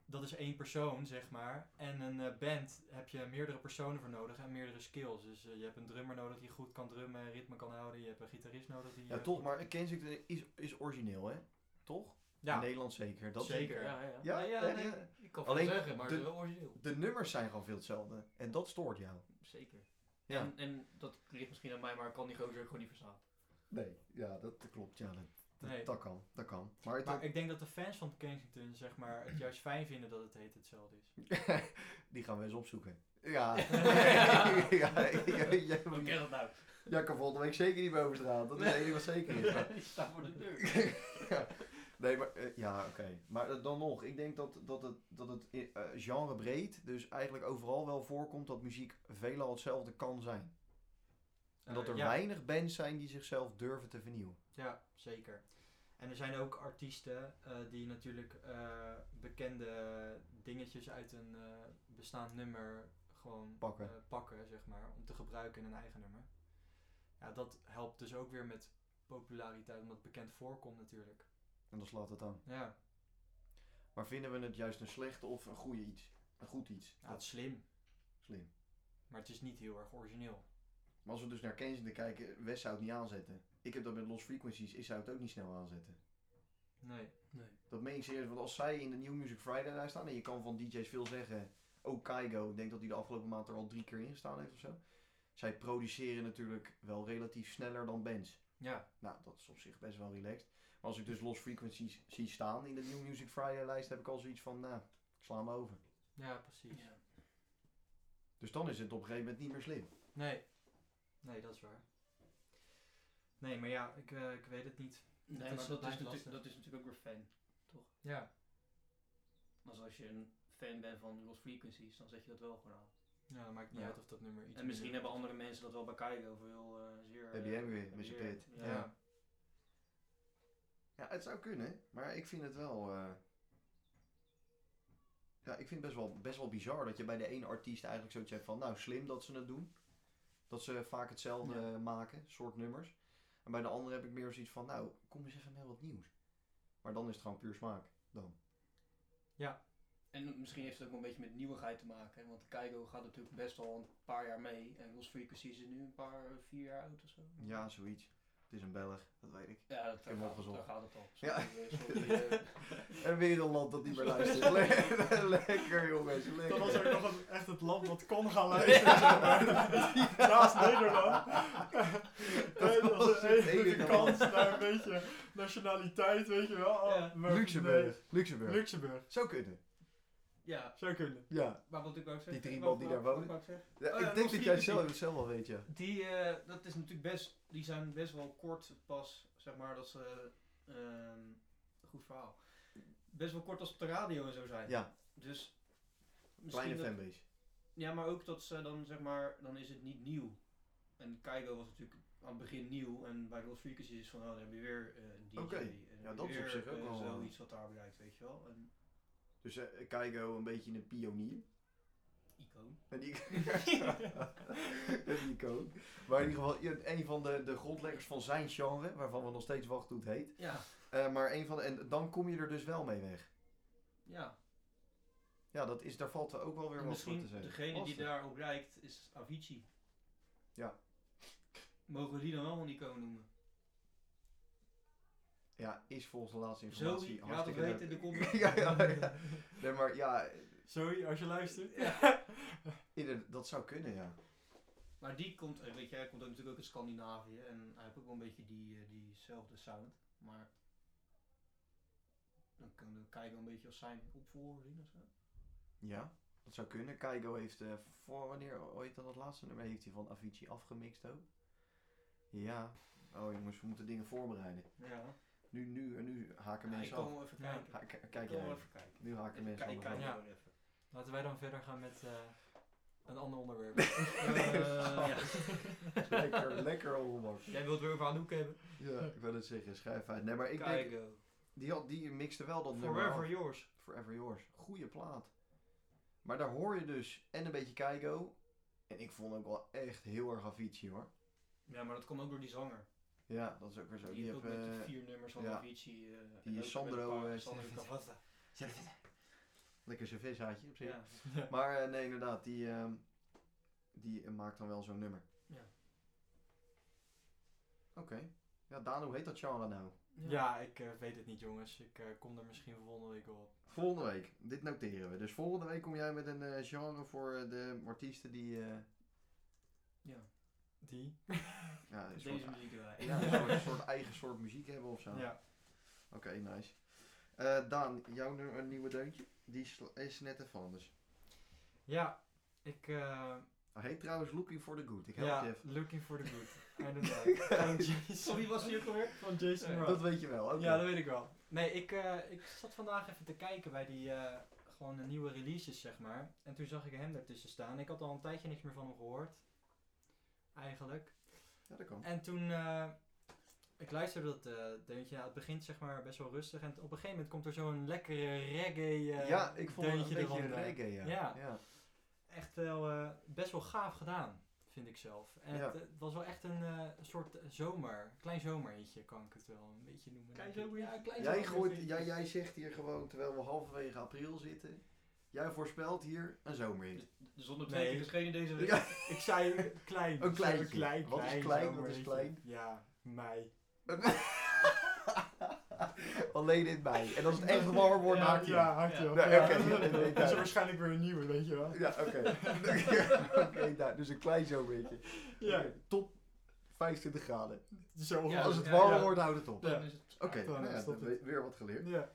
Speaker 2: dat is één persoon, zeg maar. En een eh, band heb je meerdere personen voor nodig en meerdere skills. Dus eh, je hebt een drummer nodig die goed kan drummen en ritme kan houden. Je hebt een gitarist nodig die...
Speaker 3: Ja,
Speaker 2: eh,
Speaker 3: toch,
Speaker 2: goed-
Speaker 3: maar Kensington is, is origineel, hè? Toch? In
Speaker 2: Ja,
Speaker 3: Nederland zeker. Dat
Speaker 2: Zeker.
Speaker 1: Ja, ja.
Speaker 3: Ja,
Speaker 2: Nee, ja,
Speaker 3: ja,
Speaker 2: nee.
Speaker 3: ja.
Speaker 1: Ik kan
Speaker 3: Alleen
Speaker 1: het zeggen, maar
Speaker 3: de-
Speaker 1: het is wel origineel.
Speaker 3: De nummers zijn gewoon veel hetzelfde. En dat stoort jou.
Speaker 1: Zeker.
Speaker 3: Ja.
Speaker 1: En, en dat ligt misschien aan mij, maar ik kan die gozer ook gewoon niet verstaan.
Speaker 3: Nee, ja, dat klopt. Ja, dat, dat,
Speaker 2: Nee.
Speaker 3: dat kan. Dat kan. Maar, het-
Speaker 2: Maar ik denk dat de fans van Kensington zeg maar, het juist fijn vinden dat het heet hetzelfde is.
Speaker 3: Die gaan we eens opzoeken. Ja. ja, jij,
Speaker 1: Hoe ken dat nou?
Speaker 3: jij kan volgende week zeker niet meer over straat. Dat is het enige wat zeker is.
Speaker 1: [laughs] Die staat voor de deur.
Speaker 3: [laughs] Ja. Nee, maar eh, ja, oké. Maar eh, dan nog, ik denk dat, dat het, dat het eh, genrebreed, dus eigenlijk overal wel voorkomt dat muziek veelal hetzelfde kan zijn. En dat
Speaker 2: Eh,
Speaker 3: er
Speaker 2: ja.
Speaker 3: weinig bands zijn die zichzelf durven te vernieuwen.
Speaker 2: Ja, zeker. En er zijn ook artiesten eh, die natuurlijk eh, bekende dingetjes uit een eh, bestaand nummer gewoon
Speaker 3: Pakken.
Speaker 2: eh, pakken, zeg maar, om te gebruiken in een eigen nummer. Ja, dat helpt dus ook weer met populariteit, omdat het bekend voorkomt natuurlijk.
Speaker 3: En dan slaat het aan.
Speaker 2: Ja,
Speaker 3: Maar vinden we het juist een slecht of een goede iets? Een goed iets.
Speaker 2: ja het is slim,
Speaker 3: slim.
Speaker 2: maar het is niet heel erg origineel.
Speaker 3: Maar als we dus naar Kensington kijken, West zou het niet aanzetten. Ik heb dat met Lost Frequencies, ik zou het ook niet snel aanzetten.
Speaker 2: Nee.
Speaker 3: Dat meen ik serieus, want als zij in de New Music Friday daar staan, en je kan van DJ's veel zeggen, ook Kaigo, ik denk dat hij de afgelopen maand er al drie keer in gestaan heeft of zo. Zij produceren natuurlijk wel relatief sneller dan bands.
Speaker 2: Ja,
Speaker 3: Nou, dat is op zich best wel relaxed. Maar als ik dus Lost Frequencies zie staan in de New Music Friday lijst, heb ik al zoiets van, nou, ik sla me over.
Speaker 2: ja, precies.
Speaker 1: Ja.
Speaker 3: Dus dan is het op een gegeven moment niet meer slim.
Speaker 2: Nee. Nee, dat is waar. Nee, maar ja, ik, eh, ik weet het niet.
Speaker 1: Nee,
Speaker 2: Dat
Speaker 1: maar
Speaker 2: is-
Speaker 1: dat,
Speaker 2: blijft
Speaker 1: is natuurlijk,
Speaker 2: lastig.
Speaker 1: dat is natuurlijk ook weer fan.
Speaker 2: Ja.
Speaker 1: Als als je een fan bent van Lost Frequencies, dan zet je dat wel gewoon aan.
Speaker 2: ja dat maakt niet
Speaker 3: Ja.
Speaker 2: uit of dat nummer iets
Speaker 1: En misschien
Speaker 2: minder
Speaker 1: hebben andere mensen dat wel bij Kaigo voor heel eh, zeer...
Speaker 3: Heb je
Speaker 1: eh,
Speaker 3: hem weer,
Speaker 1: heb
Speaker 3: met
Speaker 1: je
Speaker 3: zijn
Speaker 1: weer.
Speaker 3: pit.
Speaker 2: Ja.
Speaker 1: Ja.
Speaker 2: [laughs] ja.
Speaker 3: Ja, het zou kunnen, maar ik vind het wel. eh, Ja, ik vind het best wel, best wel bizar dat je bij de ene artiest eigenlijk zoiets hebt van. Nou, slim dat ze het doen. Dat ze vaak hetzelfde eh, maken, soort nummers. En bij de andere heb ik meer zoiets van. Nou, kom eens even met wat nieuws. Maar dan is het gewoon puur smaak. Dan.
Speaker 1: En misschien heeft het ook wel een beetje met nieuwigheid te maken. hè, Want Kaigo gaat natuurlijk best al een paar jaar mee. En Lost Frequencies is nu een paar, eh, vier jaar oud of zo.
Speaker 3: Ja, zoiets. Het is een Belg, dat weet ik.
Speaker 1: Ja, dat,
Speaker 3: heb hem
Speaker 1: daar, gaat,
Speaker 3: opgezocht.
Speaker 1: daar gaat het al.
Speaker 3: Ja.
Speaker 1: Sorry, eh, sorry,
Speaker 3: [laughs]
Speaker 1: eh,
Speaker 3: En weer een land dat niet meer luistert. [laughs]
Speaker 2: [laughs]
Speaker 3: Le- lekker, jongens. Lekker.
Speaker 2: Dat was ook nog een- echt het land wat kon gaan luisteren.
Speaker 3: [laughs]
Speaker 2: zeg maar. Naast
Speaker 3: Naast
Speaker 2: Nederland.
Speaker 3: Dat
Speaker 2: Eh,
Speaker 3: was het
Speaker 2: is een enige
Speaker 3: enige
Speaker 2: kans
Speaker 3: land.
Speaker 2: naar een beetje nationaliteit, weet je wel. Oh,
Speaker 1: Ja.
Speaker 2: maar
Speaker 3: Luxemburg.
Speaker 2: nee.
Speaker 3: Luxemburg.
Speaker 2: Luxemburg,
Speaker 3: Zou kunnen.
Speaker 1: ja,
Speaker 2: zou kunnen.
Speaker 3: Ja.
Speaker 1: maar wat ik wou zeggen...
Speaker 3: drie
Speaker 1: wat-
Speaker 3: man die
Speaker 1: wat-
Speaker 3: daar
Speaker 1: wat
Speaker 3: wonen.
Speaker 1: wou ik zeggen?
Speaker 3: Ja,
Speaker 1: Oh ja,
Speaker 3: ik denk dat
Speaker 1: Lost
Speaker 3: jij
Speaker 1: Frequency.
Speaker 3: zelf het zelf wel weet, ja.
Speaker 1: Die, eh, dat is natuurlijk best, die zijn best wel kort pas, zeg maar, dat ze, ehm, goed verhaal, best wel kort als op de radio en zo zijn.
Speaker 3: Ja,
Speaker 1: Dus, misschien
Speaker 3: kleine
Speaker 1: dat-
Speaker 3: fanbase.
Speaker 1: Ja, maar ook dat ze dan, zeg maar, dan is het niet nieuw. En Kaigo was natuurlijk aan het begin nieuw en bij Lost Frequencies is van, oh, dan heb je weer eh, een DJ.
Speaker 3: Oké.
Speaker 1: en dan
Speaker 3: Ja,
Speaker 1: heb
Speaker 3: dat
Speaker 1: je
Speaker 3: is op
Speaker 1: weer,
Speaker 3: zich ook
Speaker 1: eh,
Speaker 3: wel, eh,
Speaker 1: Zoiets wat daar blijkt, weet je wel. Een
Speaker 3: Dus eh, Keigo een beetje een pionier. [laughs]
Speaker 1: icoon.
Speaker 3: En die, en die kook. Maar in ieder geval ja, een van de, de grondleggers van zijn genre, waarvan we nog steeds wachten hoe het heet.
Speaker 1: Ja,
Speaker 3: Eh, maar een van de, en dan kom je er dus wel mee weg.
Speaker 1: ja.
Speaker 3: Ja, dat is, daar valt er ook wel weer
Speaker 4: En
Speaker 3: wat voor te
Speaker 4: misschien
Speaker 3: zeggen.
Speaker 4: degene
Speaker 3: Lastig.
Speaker 4: die daarop lijkt is Avicii.
Speaker 3: Ja.
Speaker 4: Mogen we die dan wel een icoon noemen?
Speaker 3: Ja, is volgens de laatste
Speaker 4: Zo,
Speaker 3: informatie
Speaker 4: ja, dat
Speaker 3: leuk.
Speaker 4: weten in
Speaker 3: [laughs]
Speaker 4: de comments.
Speaker 3: ja, ja, ja. Nee, maar ja,
Speaker 2: Sorry, als je luistert.
Speaker 3: ieder- dat zou kunnen, ja.
Speaker 4: Maar die komt, eh, weet jij, hij komt ook natuurlijk ook uit Scandinavië en hij heeft ook wel een beetje die, eh, diezelfde sound. Maar dan kunnen we kijken een beetje als zijn opvolger zien of zo.
Speaker 3: Ja, dat zou kunnen. Keigo heeft eh, voor wanneer ooit dan dat laatste nummer heeft hij van Avicii afgemixt ook. Ja. Oh jongens, we moeten dingen voorbereiden.
Speaker 4: Ja,
Speaker 3: Nu, nu, nu haken
Speaker 4: Ja, ik
Speaker 3: mensen
Speaker 4: kan
Speaker 3: af.
Speaker 4: wel even
Speaker 2: Ja.
Speaker 4: kijken.
Speaker 3: Ha- k-
Speaker 4: Ik
Speaker 3: kijk
Speaker 4: kan
Speaker 3: jij.
Speaker 4: wel
Speaker 3: even.
Speaker 4: even kijken.
Speaker 3: Nu haken
Speaker 4: Even
Speaker 3: mensen
Speaker 4: kijken,
Speaker 3: af.
Speaker 2: ja.
Speaker 4: gewoon even.
Speaker 2: Laten wij dan verder gaan met eh, een ander [laughs]
Speaker 3: [laughs]
Speaker 2: onderwerp.
Speaker 4: Eh, ja.
Speaker 3: [laughs] lekker, lekker ongemak.
Speaker 1: Jij wilt weer over Anouk hebben?
Speaker 3: Ja, ik wil het zeggen, schrijf uit. Nee, maar ik denk,
Speaker 4: Keigo.
Speaker 3: die, had, die mixte wel dat nummer af.
Speaker 1: Forever yours.
Speaker 3: Forever Yours. Goeie plaat. Maar daar hoor je dus en een beetje Keigo. En ik vond ook wel echt heel erg Avicii hoor.
Speaker 4: Ja, maar dat komt ook door die zanger.
Speaker 3: Ja, dat is ook weer zo.
Speaker 4: Die heeft ook
Speaker 3: heb,
Speaker 4: met de
Speaker 3: eh,
Speaker 4: vier nummers van
Speaker 3: ja.
Speaker 4: Avicii. eh, en
Speaker 3: Die
Speaker 4: ook met
Speaker 3: Sandro,
Speaker 4: een paar-
Speaker 3: eh, [laughs]
Speaker 4: Sandro
Speaker 3: Stevens.
Speaker 4: Cavatta.
Speaker 3: Lekker zijn vishaatje op zich.
Speaker 4: Ja.
Speaker 3: [laughs] Maar eh, nee, inderdaad, die, ehm, die eh, maakt dan wel zo'n nummer.
Speaker 4: Ja.
Speaker 3: Oké. Ja, Daan, hoe heet dat genre nou?
Speaker 2: ja, ik eh, weet het niet jongens. Ik eh, kom er misschien volgende week wel op.
Speaker 3: Volgende week, dit noteren we. Dus volgende week kom jij met een eh, genre voor eh, de artiesten die. eh,
Speaker 4: Ja.
Speaker 2: Die?
Speaker 3: ja, een soort,
Speaker 4: Deze muziek erbij.
Speaker 3: ja, een soort, een soort eigen soort muziek hebben of zo.
Speaker 2: Ja.
Speaker 3: Oké, nice. Eh, Daan, jouw nu- een nieuwe deuntje? Die is, is net even anders.
Speaker 2: Ja, ik... eh,
Speaker 3: Hij heet trouwens Looking for the Good. Ik help
Speaker 2: ja,
Speaker 3: je even.
Speaker 2: looking for the [laughs] good. Inderdaad. Van [laughs] Jason-
Speaker 4: Sorry, was die ook alweer?
Speaker 2: Van Jason Mraz.
Speaker 3: Dat weet je wel. oké.
Speaker 2: Ja, dat weet ik wel. Nee, ik, eh, ik zat vandaag even te kijken bij die eh, gewoon de nieuwe releases, zeg maar. En toen zag ik hem ertussen staan. Ik had al een tijdje niks meer van hem gehoord. Eigenlijk.
Speaker 3: Ja, dat kan.
Speaker 2: En toen, eh, ik luisterde dat eh deuntje. Nou, het begint zeg maar best wel rustig. En op een gegeven moment komt er zo'n lekkere reggae eh,
Speaker 3: ja, ik vond het een
Speaker 2: deuntje
Speaker 3: beetje
Speaker 2: eronder.
Speaker 3: reggae, ja.
Speaker 2: Ja.
Speaker 3: ja.
Speaker 2: Echt wel, eh, best wel gaaf gedaan, vind ik zelf. En
Speaker 3: Ja.
Speaker 2: het, het was wel echt een eh, soort zomer, klein zomerhitje kan ik het wel een beetje noemen.
Speaker 4: Klein
Speaker 2: denk ik.
Speaker 4: zomerhitje?
Speaker 2: Ja, klein
Speaker 3: Jij,
Speaker 2: zomerhitje.
Speaker 3: gooit, jij, jij zegt hier gewoon, terwijl we halverwege april zitten, jij voorspelt hier een
Speaker 2: [laughs]
Speaker 3: zomerhit.
Speaker 4: De zonder
Speaker 2: Nee.
Speaker 4: nee. is geen in deze week.
Speaker 3: Ja.
Speaker 2: Ik zei klein.
Speaker 3: Een
Speaker 2: Ik zei
Speaker 3: kleintje. Wat is klein,
Speaker 2: klein,
Speaker 3: wat
Speaker 2: zomaar,
Speaker 3: is
Speaker 2: weet je.
Speaker 3: klein?
Speaker 2: Ja, mij.
Speaker 3: Alleen in mei. En als het echt warm wordt,
Speaker 2: [laughs] ja,
Speaker 3: dan haakt hij
Speaker 2: ja,
Speaker 3: af.
Speaker 2: hakt hij
Speaker 4: Ja.
Speaker 2: op,
Speaker 3: Nee,
Speaker 2: ja.
Speaker 3: oké, ja, nee, nee,
Speaker 2: [laughs] is
Speaker 3: duidelijk.
Speaker 2: er waarschijnlijk weer een nieuwe, weet je wel.
Speaker 3: Ja, oké.
Speaker 2: [laughs]
Speaker 3: [laughs] Oké, nou, dus een klein zomerhitje.
Speaker 2: Ja, dus
Speaker 3: Oké, Top 25 graden.
Speaker 2: zo.
Speaker 4: Ja,
Speaker 3: Als het
Speaker 4: ja,
Speaker 3: warm
Speaker 2: ja.
Speaker 3: wordt, houdt het op.
Speaker 2: Ja.
Speaker 4: Dan is het
Speaker 3: Oké,
Speaker 2: Dan
Speaker 3: nou ja,
Speaker 2: stopt
Speaker 3: we- weer wat geleerd.
Speaker 2: Ja.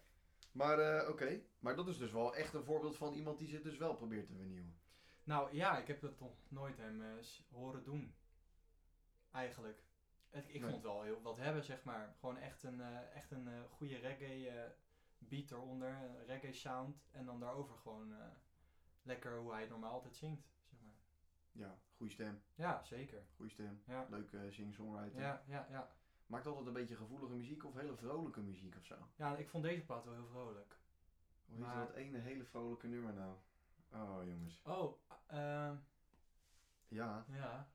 Speaker 3: Maar eh, oké, maar dat is dus wel echt een voorbeeld van iemand die zich dus wel probeert te vernieuwen.
Speaker 2: Nou ja, ik heb dat nog nooit hem eh, s- horen doen. Eigenlijk. Het- ik
Speaker 3: Nee.
Speaker 2: vond het wel heel wat hebben, zeg maar. Gewoon echt een, eh, echt een eh, goede reggae eh, beat eronder, een reggae sound. En dan daarover gewoon eh, lekker hoe hij normaal altijd zingt, zeg maar.
Speaker 3: Ja, goede stem,
Speaker 2: Ja, zeker.
Speaker 3: goede stem.
Speaker 2: Ja,
Speaker 3: Leuke sing-songwriter.
Speaker 2: ja, ja. ja.
Speaker 3: Maakt altijd een beetje gevoelige muziek of hele vrolijke muziek of zo.
Speaker 2: Ja, ik vond deze plaat wel heel vrolijk.
Speaker 3: Hoe is
Speaker 2: Maar-
Speaker 3: dat ene hele vrolijke nummer nou? Oh jongens.
Speaker 2: Oh, eh,
Speaker 3: Ja,
Speaker 2: ja.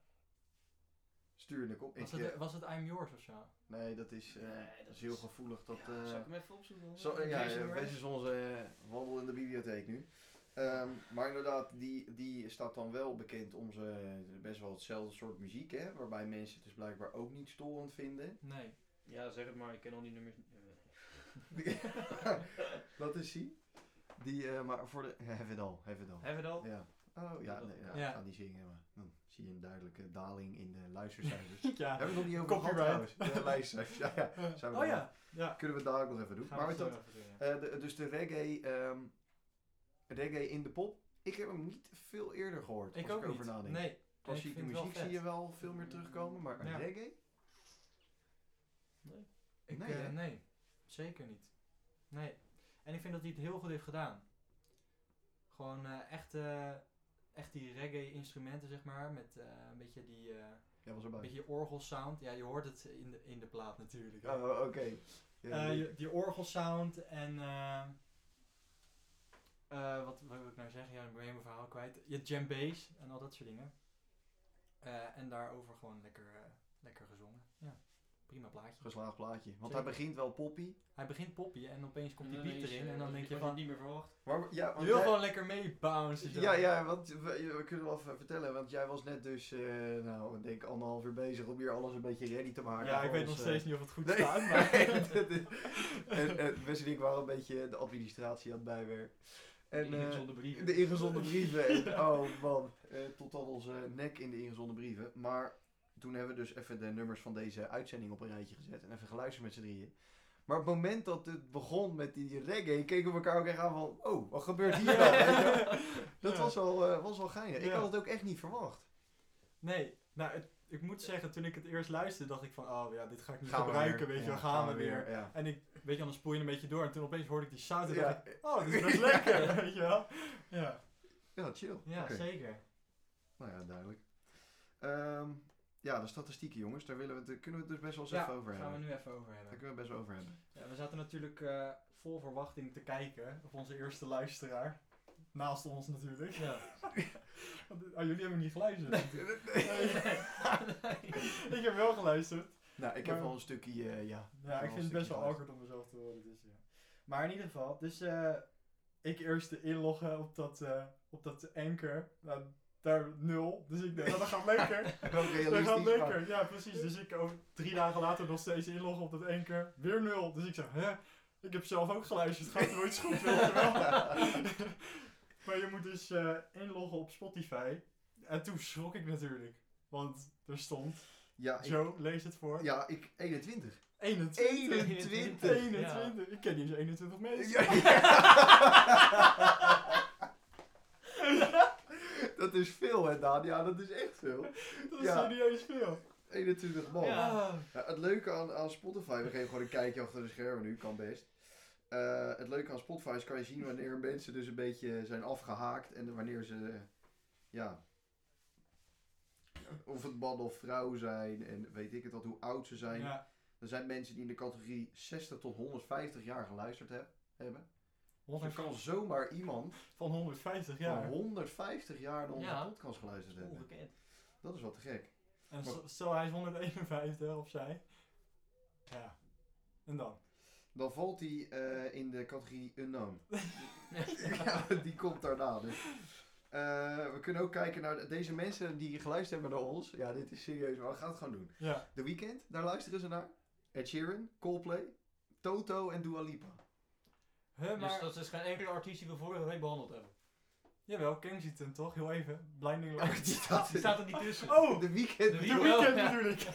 Speaker 3: stuur ik op. Ik,
Speaker 2: Was het,
Speaker 3: eh,
Speaker 2: was het I'm Yours of zo?
Speaker 3: nee, dat is, eh,
Speaker 4: Nee,
Speaker 3: dat
Speaker 4: dat
Speaker 3: is heel
Speaker 4: is-
Speaker 3: gevoelig. Dat,
Speaker 4: ja,
Speaker 3: eh,
Speaker 4: zal ik hem even opzoeken?
Speaker 3: Zo, eh,
Speaker 4: Jason
Speaker 3: ja,
Speaker 4: Mraz?
Speaker 3: ja, Wes is onze eh, wandel in de bibliotheek nu. Ehm, maar inderdaad, die, die staat dan wel bekend om zijn best wel hetzelfde soort muziek, hè? Waarbij mensen het dus blijkbaar ook niet storend vinden. [laughs]
Speaker 2: Nee.
Speaker 4: Ja, zeg het maar, ik ken al die nummers. niet.
Speaker 3: Dat is die. Die, eh, maar voor de... [laughs] Have it all, have it all.
Speaker 4: Hebben we dat?
Speaker 3: Ja. Oh, ja, nee, ja,
Speaker 2: Ja.
Speaker 3: ik ga niet zingen, maar dan zie je een duidelijke daling in de luistercijfers.
Speaker 2: [laughs] [laughs] ja.
Speaker 3: Hebben we het nog niet over gehad
Speaker 2: Copyright.
Speaker 3: trouwens? De
Speaker 2: [laughs]
Speaker 3: luistercijfers, ja, ja. Zijn we
Speaker 2: Oh
Speaker 3: nog-
Speaker 2: ja. Ja.
Speaker 3: Kunnen we het daar ook nog even doen.
Speaker 2: Gaan
Speaker 3: maar
Speaker 2: we
Speaker 3: met
Speaker 2: zo
Speaker 3: dat,
Speaker 2: even doen, ja.
Speaker 3: Eh, de- dus de reggae, ehm, reggae in de pop. Ik heb hem niet veel eerder gehoord.
Speaker 2: Ik
Speaker 3: als
Speaker 2: ook
Speaker 3: ik over
Speaker 2: niet.
Speaker 3: nadenk.
Speaker 2: Nee. ik
Speaker 3: Klassieke
Speaker 2: vind het wel
Speaker 3: muziek zie
Speaker 2: vet.
Speaker 3: je wel veel meer terugkomen, maar een
Speaker 2: Ja.
Speaker 3: reggae?
Speaker 2: Ik,
Speaker 3: Nee,
Speaker 2: nee,
Speaker 3: hè?
Speaker 2: nee. Zeker niet. Nee. En ik vind dat hij het heel goed heeft gedaan. Gewoon eh, echt, eh, echt die reggae-instrumenten, zeg maar. Met eh, een beetje die eh
Speaker 3: Ja, was erbij.
Speaker 2: beetje orgelsound. Ja, je hoort het in de, in de plaat natuurlijk. hè.
Speaker 3: Oh, oké. Ja,
Speaker 2: Eh,
Speaker 3: die-
Speaker 2: je- die orgelsound en. eh, eh, wat, wat wil ik nou zeggen? Ja, ik ben helemaal mijn verhaal kwijt. Je djembe's en al dat soort dingen. Eh, en daarover gewoon lekker, eh, lekker gezongen. Ja, prima plaatje.
Speaker 3: Geslaagd plaatje. Want
Speaker 2: Zeker.
Speaker 3: hij begint wel poppy.
Speaker 2: Hij begint poppy en opeens komt die
Speaker 4: En
Speaker 2: beat
Speaker 4: ineens,
Speaker 2: erin
Speaker 4: eh,
Speaker 2: en dan denk je
Speaker 4: wat
Speaker 2: van,
Speaker 4: niet meer verwacht.
Speaker 3: Maar, ja,
Speaker 2: je
Speaker 3: want
Speaker 2: wil
Speaker 3: jij-
Speaker 2: gewoon lekker mee bouncen. zo.
Speaker 3: Ja, ja, want we, we kunnen wel even vertellen, want jij was net dus, eh, nou, ik denk anderhalf uur bezig om hier alles een beetje ready te maken.
Speaker 2: Ja, ik
Speaker 3: voor
Speaker 2: weet nog
Speaker 3: ons, eh,
Speaker 2: steeds niet of het goed
Speaker 3: Nee. [laughs]
Speaker 2: staat, maar...
Speaker 3: dit is- en, en Wes en ik waren een beetje de administratie aan het bijwerken. En,
Speaker 4: Die
Speaker 3: eh,
Speaker 4: ingezonde brieven.
Speaker 3: de ingezonden
Speaker 4: [laughs]
Speaker 3: brieven.
Speaker 2: [laughs]
Speaker 3: En, oh man, eh, tot aan onze nek in de ingezonden brieven. Maar toen hebben we dus even de nummers van deze uitzending op een rijtje gezet. En even geluisterd met z'n drieën. Maar op het moment dat het begon met die reggae, keken we elkaar ook echt aan van... Oh, wat gebeurt hier dan? Weet je
Speaker 2: [laughs]
Speaker 3: wel? Dat
Speaker 2: Ja.
Speaker 3: was wel, eh, was wel geinig. Ik
Speaker 2: Ja.
Speaker 3: had het ook echt niet verwacht.
Speaker 2: Nee, nou, het- ik moet zeggen, toen ik het eerst luisterde, dacht ik van, oh ja, dit ga ik niet
Speaker 3: Gaan we
Speaker 2: gebruiken,
Speaker 3: weer.
Speaker 2: weet
Speaker 3: Ja,
Speaker 2: je, wel, gaan we weer.
Speaker 3: Ja.
Speaker 2: En ik, weet je, dan spoel je een beetje door. En toen opeens hoorde ik die sound en dacht
Speaker 3: Ja.
Speaker 2: ik, oh, dit is best lekker, [laughs] weet je wel. Ja,
Speaker 3: ja, chill.
Speaker 2: ja
Speaker 3: Oké.
Speaker 2: zeker.
Speaker 3: Nou ja, duidelijk. Ehm, ja, de statistieken jongens, daar willen we het, daar kunnen we het dus best wel eens
Speaker 2: Ja,
Speaker 3: even over
Speaker 2: daar gaan we
Speaker 3: hebben.
Speaker 2: nu even over
Speaker 3: Daar
Speaker 2: hebben.
Speaker 3: kunnen we het best wel over hebben.
Speaker 2: Ja, we zaten natuurlijk eh, vol verwachting te kijken op onze eerste luisteraar. Naast ons natuurlijk. [laughs] Ja. oh, jullie hebben niet geluisterd. Nee. [laughs] ik heb wel geluisterd.
Speaker 3: Nou, ik heb
Speaker 2: Maar-
Speaker 3: wel een stukje, eh, ja.
Speaker 2: Ja,
Speaker 3: een
Speaker 2: ik vind het best
Speaker 3: stukje
Speaker 2: wel
Speaker 3: geluisterd.
Speaker 2: awkward om mezelf te horen. Dus, ja. Maar in ieder geval, dus eh, ik eerst te inloggen op dat, eh, op dat anchor. Nou, daar nul. Dus ik denk, nou, dat gaat
Speaker 3: [laughs] Wel
Speaker 2: lekker. dat gaat
Speaker 3: realistisch, maar
Speaker 2: lekker. Ja, precies. Dus ik over drie dagen later nog steeds inloggen op dat anchor. Weer nul. Dus ik zeg, hè? Ik heb zelf ook geluisterd. Gaat er ooit goed, weet je wel?
Speaker 3: [laughs]
Speaker 2: maar je moet dus eh, inloggen op Spotify. En toen schrok ik natuurlijk. Want er stond,
Speaker 3: Ja, ik,
Speaker 2: Joe, lees het voor.
Speaker 3: ja, ik 21.
Speaker 2: [laughs] 21.
Speaker 3: 21.
Speaker 2: 21. Ik ken niet eens 21 mensen. [laughs]
Speaker 3: Ja, dat is veel hè Daan, ja dat is echt veel.
Speaker 2: Dat is
Speaker 3: Ja. Oh.
Speaker 2: serieus veel.
Speaker 3: 21 man.
Speaker 4: Ja.
Speaker 2: Ah.
Speaker 3: Ja, het leuke aan, aan Spotify, we geven gewoon een kijkje achter de schermen nu, kan best. Eh, het leuke aan Spotify is kan je zien wanneer mensen dus een beetje zijn afgehaakt en wanneer ze, eh, ja, of het man of vrouw zijn en weet ik het wat, hoe oud ze zijn.
Speaker 2: Ja.
Speaker 3: Er zijn mensen die in de categorie 60 tot 150 jaar geluisterd heb- hebben. Dus er kan zomaar iemand
Speaker 2: Van 150
Speaker 3: van
Speaker 2: jaar.
Speaker 3: 150 jaar naar onze
Speaker 4: Ja.
Speaker 3: podcast geluisterd hebben.
Speaker 4: Ongekend.
Speaker 3: Dat is wat te gek.
Speaker 2: En s- stel hij is 151 of zij. Ja. En dan?
Speaker 3: Dan valt hij eh, in de categorie unknown. [laughs] ja, die komt daarna. Dus. Eh, we kunnen ook kijken naar de- deze mensen die geluisterd hebben naar ons. Ja, dit is serieus, maar we gaan het gewoon doen.
Speaker 2: Ja.
Speaker 3: The Weeknd, daar luisteren ze naar. Ed Sheeran, Coldplay, Toto en Dua Lipa.
Speaker 2: Huh, maar...
Speaker 4: Dus dat is geen enkele artiest die we vorige week behandeld hebben.
Speaker 2: Jawel, Kensington toch? Heel even. Blinding
Speaker 3: [laughs]
Speaker 2: Lights.
Speaker 3: Oh, Die staat
Speaker 4: Die staat er niet tussen.
Speaker 2: Oh!
Speaker 3: The Weeknd,
Speaker 4: De
Speaker 2: The
Speaker 4: Weeknd.
Speaker 2: Weeknd
Speaker 4: Ja.
Speaker 2: natuurlijk.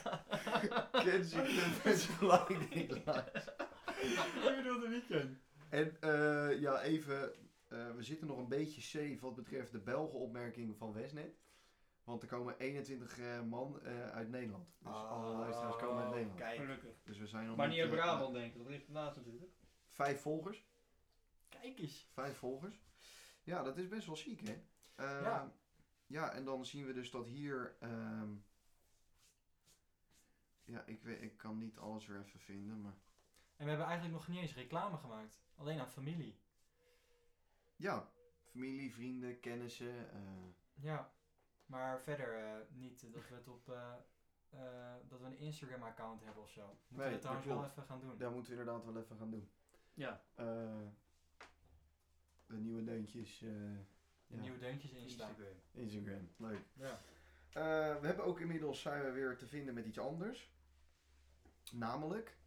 Speaker 3: [laughs] Kensington en Blinding Lights.
Speaker 2: Oh, Ik bedoel de Weeknd.
Speaker 3: En eh, ja, even, eh, we zitten nog een beetje safe wat betreft de Belgen-opmerking van Westnet. Want er komen 21 eh, man eh, uit Nederland. Dus alle luisteraars komen uit Nederland.
Speaker 2: Kijk.
Speaker 4: Gelukkig.
Speaker 3: Dus we zijn nog
Speaker 4: Maar niet uit
Speaker 3: eh,
Speaker 4: Brabant, denk ik. Dat ligt ernaast natuurlijk.
Speaker 3: Vijf volgers.
Speaker 2: Kijk eens.
Speaker 3: Vijf volgers. Ja, dat is best wel ziek, hè? Eh,
Speaker 2: Ja.
Speaker 3: ja, en dan zien we dus dat hier... ehm, ja, ik, weet, ik kan niet alles weer even vinden, maar...
Speaker 2: En we hebben eigenlijk nog niet eens reclame gemaakt. Alleen aan familie.
Speaker 3: Ja, familie, vrienden, kennissen. eh,
Speaker 2: Ja. Maar verder eh, niet eh, dat we het op... eh, eh, dat we een Instagram-account hebben of zo. Moeten
Speaker 3: Nee,
Speaker 2: we dat trouwens
Speaker 3: dat
Speaker 2: wel
Speaker 3: klopt.
Speaker 2: even gaan doen.
Speaker 3: daar moeten we inderdaad wel even gaan doen.
Speaker 4: Ja.
Speaker 3: Eh, de nieuwe deuntjes. eh,
Speaker 2: De
Speaker 3: ja,
Speaker 2: nieuwe deuntjes instaan.
Speaker 4: Instagram.
Speaker 3: Instagram, leuk.
Speaker 2: Ja.
Speaker 3: Eh, we hebben ook inmiddels zijn we weer te vinden met iets anders. Namelijk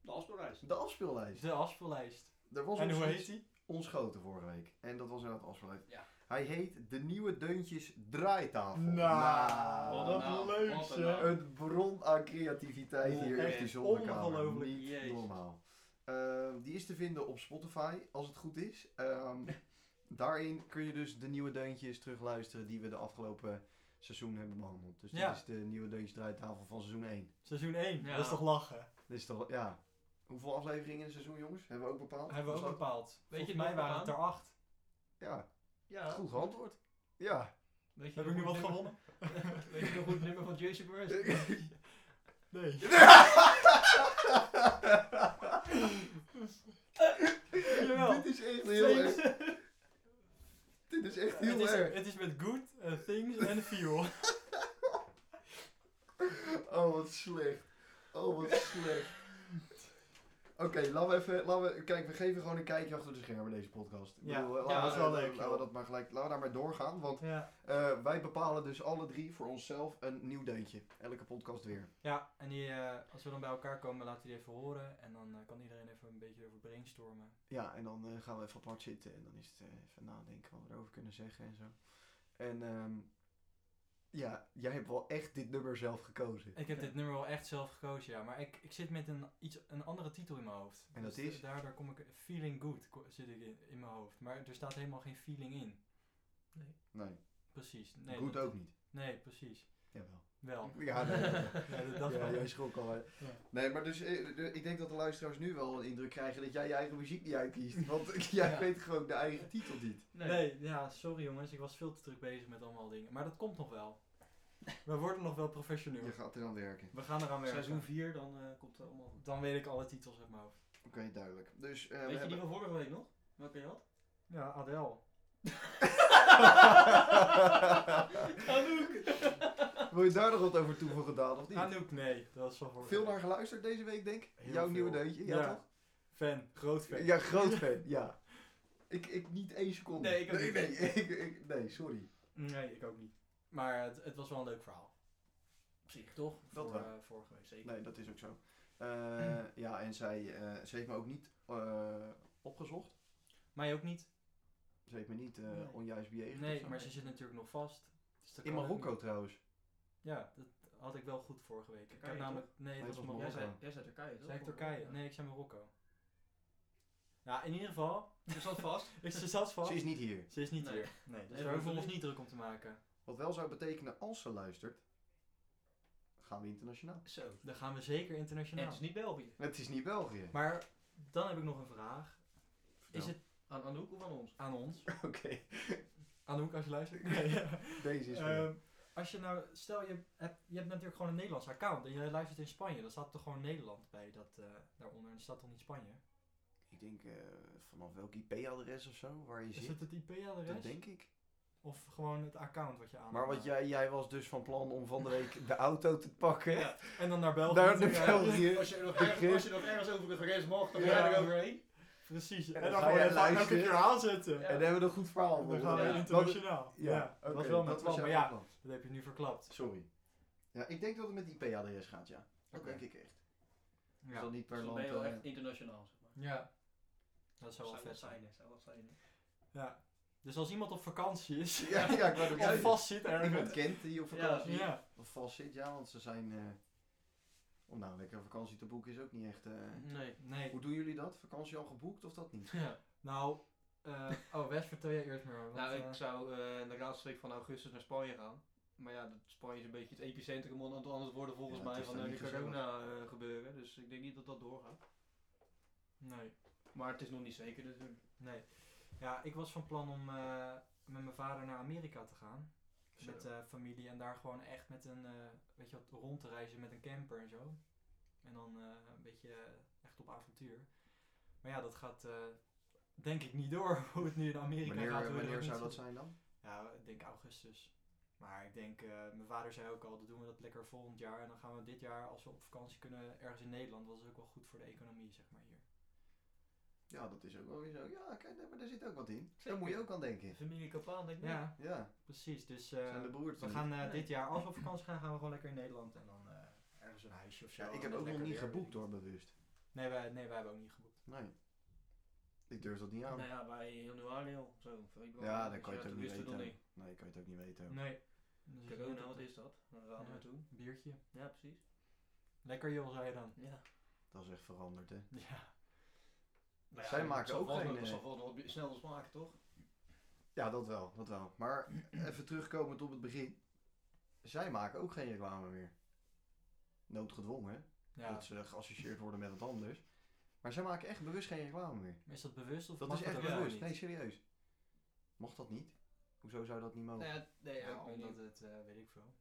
Speaker 4: De afspeellijst.
Speaker 3: de afspeellijst.
Speaker 2: De afspeellijst.
Speaker 3: Er was
Speaker 2: En
Speaker 3: ons
Speaker 2: hoe
Speaker 3: iets
Speaker 2: heet die?
Speaker 3: ontschoten vorige week. En dat was inderdaad afsluit.
Speaker 4: Ja.
Speaker 3: Hij heet De Nieuwe Deuntjes Draaitafel.
Speaker 2: Nou,
Speaker 4: wat
Speaker 2: dat
Speaker 4: een naam,
Speaker 2: Nou, leuk
Speaker 4: wat een
Speaker 2: zeg.
Speaker 4: naam.
Speaker 3: Een bron aan creativiteit hier
Speaker 2: Echt
Speaker 3: in de zolderkamer.
Speaker 2: ongelooflijk.
Speaker 3: Niet
Speaker 4: Jezus.
Speaker 3: normaal. Ehm, die is te vinden op Spotify, als het goed is. Ehm,
Speaker 2: [laughs]
Speaker 3: daarin kun je dus de nieuwe deuntjes terugluisteren die we de afgelopen seizoen hebben behandeld. Dus dit
Speaker 2: Ja.
Speaker 3: is de nieuwe deuntjes draaitafel van seizoen 1.
Speaker 2: Seizoen 1,
Speaker 4: Ja.
Speaker 2: dat is toch lachen?
Speaker 3: Dit is toch, ja. Hoeveel afleveringen in het seizoen, jongens? Hebben we ook bepaald?
Speaker 2: Hebben we ook
Speaker 3: Besloten?
Speaker 2: bepaald. Weet je,
Speaker 4: je
Speaker 2: mij
Speaker 4: nog
Speaker 2: waren
Speaker 4: aan?
Speaker 2: het er 8.
Speaker 3: Ja,
Speaker 4: Ja.
Speaker 3: goed geantwoord. Ja.
Speaker 2: [laughs]
Speaker 4: Weet je
Speaker 2: Heb ik nu
Speaker 4: nog
Speaker 2: wat
Speaker 4: hoe
Speaker 2: gewonnen?
Speaker 4: het nummer- [laughs] Weet je nog goed nummer van Jason Burris?
Speaker 2: Nee.
Speaker 3: [laughs]
Speaker 2: Jawel.
Speaker 3: Dit is echt heel erg. Dit
Speaker 2: Things.
Speaker 3: is echt
Speaker 2: Het
Speaker 3: heel
Speaker 2: is,
Speaker 3: erg.
Speaker 2: het is met good, eh, things en feel.
Speaker 3: Oh, wat slecht. Oh, wat slecht. Oké, laten we even. Laten we, kijk, we geven gewoon een kijkje achter de schermen deze podcast. Ik
Speaker 2: Ja.
Speaker 3: bedoel, eh,
Speaker 2: Ja,
Speaker 3: laten
Speaker 2: dat
Speaker 3: we-
Speaker 2: is wel
Speaker 3: laten we-
Speaker 2: leuk,
Speaker 3: Laten we
Speaker 2: joh.
Speaker 3: dat maar gelijk. Laten we daar maar doorgaan. Want
Speaker 2: Ja.
Speaker 3: eh, wij bepalen dus alle drie voor onszelf een nieuw deuntje. Elke podcast weer.
Speaker 2: ja, en die, eh, als we dan bij elkaar komen, laten we die even horen. En dan eh, kan iedereen even een beetje over brainstormen.
Speaker 3: Ja, en dan eh, gaan we even apart zitten en dan is het eh, even nadenken wat we erover kunnen zeggen en zo. En ehm, ja, jij hebt wel echt dit nummer zelf gekozen.
Speaker 2: Ik heb dit nummer wel echt zelf gekozen, ja. Maar ik, ik zit met een, iets, een andere titel in mijn hoofd.
Speaker 3: En dat
Speaker 2: Dus
Speaker 3: is?
Speaker 2: Daardoor kom ik... Feeling Good ko- zit ik in, in mijn hoofd. Maar er staat helemaal geen feeling in.
Speaker 3: Nee,
Speaker 2: Precies. Nee,
Speaker 3: goed
Speaker 2: dat-
Speaker 3: ook niet.
Speaker 2: Nee, precies.
Speaker 3: Jawel.
Speaker 2: Wel.
Speaker 3: Ja, nee, nee,
Speaker 2: Ja, dat
Speaker 3: nee.
Speaker 2: dacht
Speaker 3: [laughs] ja,
Speaker 2: ik.
Speaker 3: jij schrok al. hè. Nee, maar dus eh, de- ik denk dat de luisteraars nu wel een indruk krijgen dat jij je eigen muziek niet uitkiest. Want [laughs] jij
Speaker 2: Ja.
Speaker 3: weet gewoon de eigen titel niet.
Speaker 2: Nee. ja, sorry jongens, ik was veel te druk bezig met allemaal dingen. Maar dat komt nog [laughs] wel. We worden nog wel professioneel.
Speaker 3: Je gaat eraan werken.
Speaker 2: We gaan eraan werken.
Speaker 1: Seizoen 4, dan eh, komt het allemaal.
Speaker 2: Dan weet ik alle titels uit mijn hoofd.
Speaker 3: Oké, duidelijk. Dus eh,
Speaker 1: Weet
Speaker 3: we
Speaker 1: je die
Speaker 3: hebben...
Speaker 1: van vorige week nog? Welke je
Speaker 3: [laughs]
Speaker 1: had?
Speaker 2: Ja, Adele.
Speaker 3: Wil je daar nog wat over toevoegen, Daan, of niet?
Speaker 2: Anouk, nee. Dat is wel voor...
Speaker 3: Veel naar geluisterd deze week, denk ik.
Speaker 2: Heel
Speaker 3: Jouw
Speaker 2: veel.
Speaker 3: nieuwe deuntje, ja,
Speaker 2: Ja.
Speaker 3: toch?
Speaker 2: Fan, groot fan.
Speaker 3: Ja, groot fan, ja. Ik, ik niet één seconde.
Speaker 1: Nee, ik ook
Speaker 3: nee,
Speaker 1: niet.
Speaker 3: nee, [laughs] ik, ik- nee, sorry.
Speaker 2: Nee, ik ook niet. Maar het, het was wel een leuk verhaal. Op zich, toch?
Speaker 3: Dat
Speaker 2: voor,
Speaker 3: wel.
Speaker 2: eh, vorige week zeker.
Speaker 3: Nee, dat is ook zo. Eh, ja, en zij eh, ze heeft me ook niet eh, opgezocht.
Speaker 2: Mij ook niet.
Speaker 3: Ze heeft me niet eh,
Speaker 2: Nee.
Speaker 3: onjuist bejegend. of
Speaker 2: Nee,
Speaker 3: zo.
Speaker 2: maar ze zit natuurlijk nog vast. Dus dat
Speaker 3: In
Speaker 2: kan ook
Speaker 3: Marokko
Speaker 2: niet.
Speaker 3: trouwens.
Speaker 2: Ja, dat had ik wel goed vorige week. Ik
Speaker 1: Turkije,
Speaker 2: heb namelijk... Nee,
Speaker 3: Nee,
Speaker 2: dat
Speaker 3: het
Speaker 2: was
Speaker 3: was
Speaker 2: Marokko.
Speaker 1: Jij
Speaker 3: Marokko.
Speaker 1: zei, jij zei Turkije, toch?
Speaker 2: Zei ik Turkije?
Speaker 1: Ja.
Speaker 2: Nee, ik zei Marokko. Ja, in ieder geval,
Speaker 1: Je zat vast. [laughs]
Speaker 2: ik- ze zat vast.
Speaker 3: Ze is niet hier.
Speaker 2: Ze is niet
Speaker 1: Nee.
Speaker 2: hier. Nee, dus
Speaker 1: Nee,
Speaker 2: daar hoeven we
Speaker 1: dat-
Speaker 2: ons niet druk om te maken.
Speaker 3: Wat wel zou betekenen als ze luistert, gaan we internationaal.
Speaker 1: Zo.
Speaker 2: Dan gaan we zeker
Speaker 1: En
Speaker 2: internationaal.
Speaker 1: het is niet België.
Speaker 3: Het is niet België.
Speaker 2: Maar dan heb ik nog een vraag. Is
Speaker 3: Vertel.
Speaker 2: het
Speaker 1: Aan Anouk of aan ons?
Speaker 2: aan ons?
Speaker 3: [laughs] Oké,
Speaker 2: Aan Hoek als je luistert? [laughs] Nee.
Speaker 3: deze is weer.
Speaker 2: Ehm, als je nou, stel je hebt, je hebt natuurlijk gewoon een Nederlands account en je luistert in Spanje, dan staat toch gewoon Nederland bij dat eh, daaronder en dat staat toch niet Spanje?
Speaker 3: Ik denk eh, vanaf welk IP-adres of zo waar je
Speaker 2: Is
Speaker 3: zit.
Speaker 2: het het
Speaker 3: Dat
Speaker 2: IP-adres?
Speaker 3: denk ik.
Speaker 2: Of gewoon het account wat je aan
Speaker 3: Maar wat jij, jij was dus van plan om van de
Speaker 2: [laughs]
Speaker 3: week de auto te pakken.
Speaker 1: Ja.
Speaker 2: En dan naar België.
Speaker 3: Naar de [laughs]
Speaker 2: toe, ja.
Speaker 3: België.
Speaker 1: Als je nog
Speaker 3: De
Speaker 1: ergens, als je nog ergens over de grens mag, dan ga je
Speaker 2: Ja.
Speaker 1: er overheen.
Speaker 2: Precies.
Speaker 3: En
Speaker 2: En,
Speaker 3: dan
Speaker 2: dan
Speaker 3: ga
Speaker 2: gewoon
Speaker 3: jij
Speaker 2: even elke
Speaker 3: luisteren.
Speaker 2: keer aanzetten.
Speaker 1: Ja.
Speaker 3: En dan hebben we een goed verhaal.
Speaker 2: En dan gaan we
Speaker 1: Ja.
Speaker 2: internationaal. Ja, dat was wel mijn plan. Maar ja, dat heb je nu verklapt.
Speaker 3: Sorry. Ja, ik denk dat het met IP-adres gaat, ja. Dat
Speaker 2: Oké.
Speaker 3: denk ik echt. Dus
Speaker 2: Ja,
Speaker 3: dan niet per
Speaker 1: Dus dan
Speaker 3: land.
Speaker 1: ben je wel
Speaker 3: eh,
Speaker 1: echt internationaal, zeg maar.
Speaker 2: ja. dat zou
Speaker 1: Zou
Speaker 2: wel vet
Speaker 1: wat
Speaker 2: zijn.
Speaker 1: zijn, hè, zou wat zijn. hè.
Speaker 2: Ja. Dus als iemand op vakantie is,
Speaker 3: eh, Ja, ja, ik wou het ook
Speaker 2: [laughs] of
Speaker 3: zeggen.
Speaker 2: vast zit
Speaker 3: Iemand
Speaker 2: ergens.
Speaker 3: kent die op
Speaker 1: Ja.
Speaker 3: vakantie.
Speaker 2: Ja.
Speaker 3: Of vast zit, ja, want ze zijn... eh, om nou lekker vakantie te boeken is ook niet echt... eh,
Speaker 1: Nee.
Speaker 2: Nee.
Speaker 3: Hoe doen jullie dat? Vakantie al geboekt of dat niet?
Speaker 2: Nou, eh, oh Wes, vertel jij eerst maar. want,
Speaker 1: Nou,
Speaker 2: eh,
Speaker 1: ik zou eh, in de laatste week van augustus naar Spanje gaan. Maar ja, dat Spanje is een beetje het epicentrum aan het anders worden volgens
Speaker 3: Ja, het
Speaker 1: mij
Speaker 3: is
Speaker 1: van
Speaker 3: daar
Speaker 1: eh, de
Speaker 3: niet gezellig.
Speaker 1: corona eh, gebeuren. Dus ik denk niet dat dat doorgaat.
Speaker 2: Nee.
Speaker 1: Maar het is nog niet zeker natuurlijk.
Speaker 2: Nee. Ja, ik was van plan om eh, met mijn vader naar Amerika te gaan. Met eh, familie en daar gewoon echt met een, eh, weet je wat, rond te reizen met een camper en zo. En dan eh, een beetje eh, echt op avontuur. Maar ja, dat gaat eh, denk ik niet door [laughs] hoe het nu in Amerika
Speaker 3: wanneer eh,
Speaker 2: gaat. hoe we er
Speaker 3: wanneer
Speaker 2: ook
Speaker 3: zou
Speaker 2: niet
Speaker 3: dat zijn dan?
Speaker 2: Ja, ik denk augustus. Maar ik denk, eh, mijn vader zei ook al, dan doen we dat lekker volgend jaar. En dan gaan we dit jaar, als we op vakantie kunnen, ergens in Nederland. Dat is ook wel goed voor de economie, zeg maar hier.
Speaker 3: Ja, dat is ook wel weer zo. Ja, kijk, daar- maar daar zit ook wat in. Daar moet je ook aan denken.
Speaker 1: Familie Kapaan, denk ik. niet.
Speaker 2: Ja,
Speaker 3: Ja,
Speaker 2: precies. Dus
Speaker 3: zijn
Speaker 2: eh,
Speaker 3: de broertjes.
Speaker 2: we
Speaker 3: niet.
Speaker 2: gaan eh,
Speaker 1: Nee.
Speaker 2: dit jaar, als we op vakantie gaan, gaan we gewoon lekker in Nederland. En dan eh, ergens een huisje of zo.
Speaker 3: Ja, ik
Speaker 2: en
Speaker 3: heb
Speaker 2: met
Speaker 3: ook nog
Speaker 2: lekker
Speaker 3: niet
Speaker 2: weer,
Speaker 3: geboekt
Speaker 2: weet ik
Speaker 3: hoor, bewust.
Speaker 2: niet. Nee wij, nee, wij hebben ook niet geboekt.
Speaker 3: Nee. Ik durf dat niet aan.
Speaker 1: Nou ja, bij januari al. Zo, februari.
Speaker 3: Ja, dan
Speaker 1: Dus
Speaker 3: kan je het ook
Speaker 1: toen
Speaker 3: niet
Speaker 1: wisten we
Speaker 3: weten.
Speaker 1: nog
Speaker 3: hè. Nee, kan je het ook niet weten. ook.
Speaker 2: Nee. Dus ik weet
Speaker 1: Corona,
Speaker 2: het
Speaker 1: wat
Speaker 2: niet.
Speaker 1: is dat? Daar gaan we
Speaker 2: Ja.
Speaker 1: naartoe.
Speaker 2: Een biertje.
Speaker 1: Ja, precies.
Speaker 2: Lekker joh, zei je dan. [laughs]
Speaker 1: Ja.
Speaker 3: Dat is echt veranderd, hè.
Speaker 2: Ja.
Speaker 1: Maar ja,
Speaker 3: Zij
Speaker 1: dat
Speaker 3: maken
Speaker 1: zal
Speaker 3: ook
Speaker 1: vast
Speaker 3: geen,
Speaker 1: nog- Dat zal
Speaker 3: eh,
Speaker 1: vast nog wat sneller smaken, toch?
Speaker 3: Ja, dat wel, dat wel. Maar even terugkomend op het begin. Zij maken ook geen reclame meer. Noodgedwongen, hè.
Speaker 2: ja.
Speaker 3: Dat ze geassocieerd worden met wat anders. Maar zij maken echt bewust geen reclame meer.
Speaker 2: Maar Is dat bewust of
Speaker 3: Dat
Speaker 2: mag
Speaker 3: is echt
Speaker 2: ook gewoon
Speaker 3: bewust.
Speaker 2: niet?
Speaker 3: Nee, serieus. Mocht dat niet? Hoezo zou dat niet mogen?
Speaker 1: Nee, nee,
Speaker 2: Ja,
Speaker 1: ik weet niet.
Speaker 2: omdat het, eh, weet ik veel.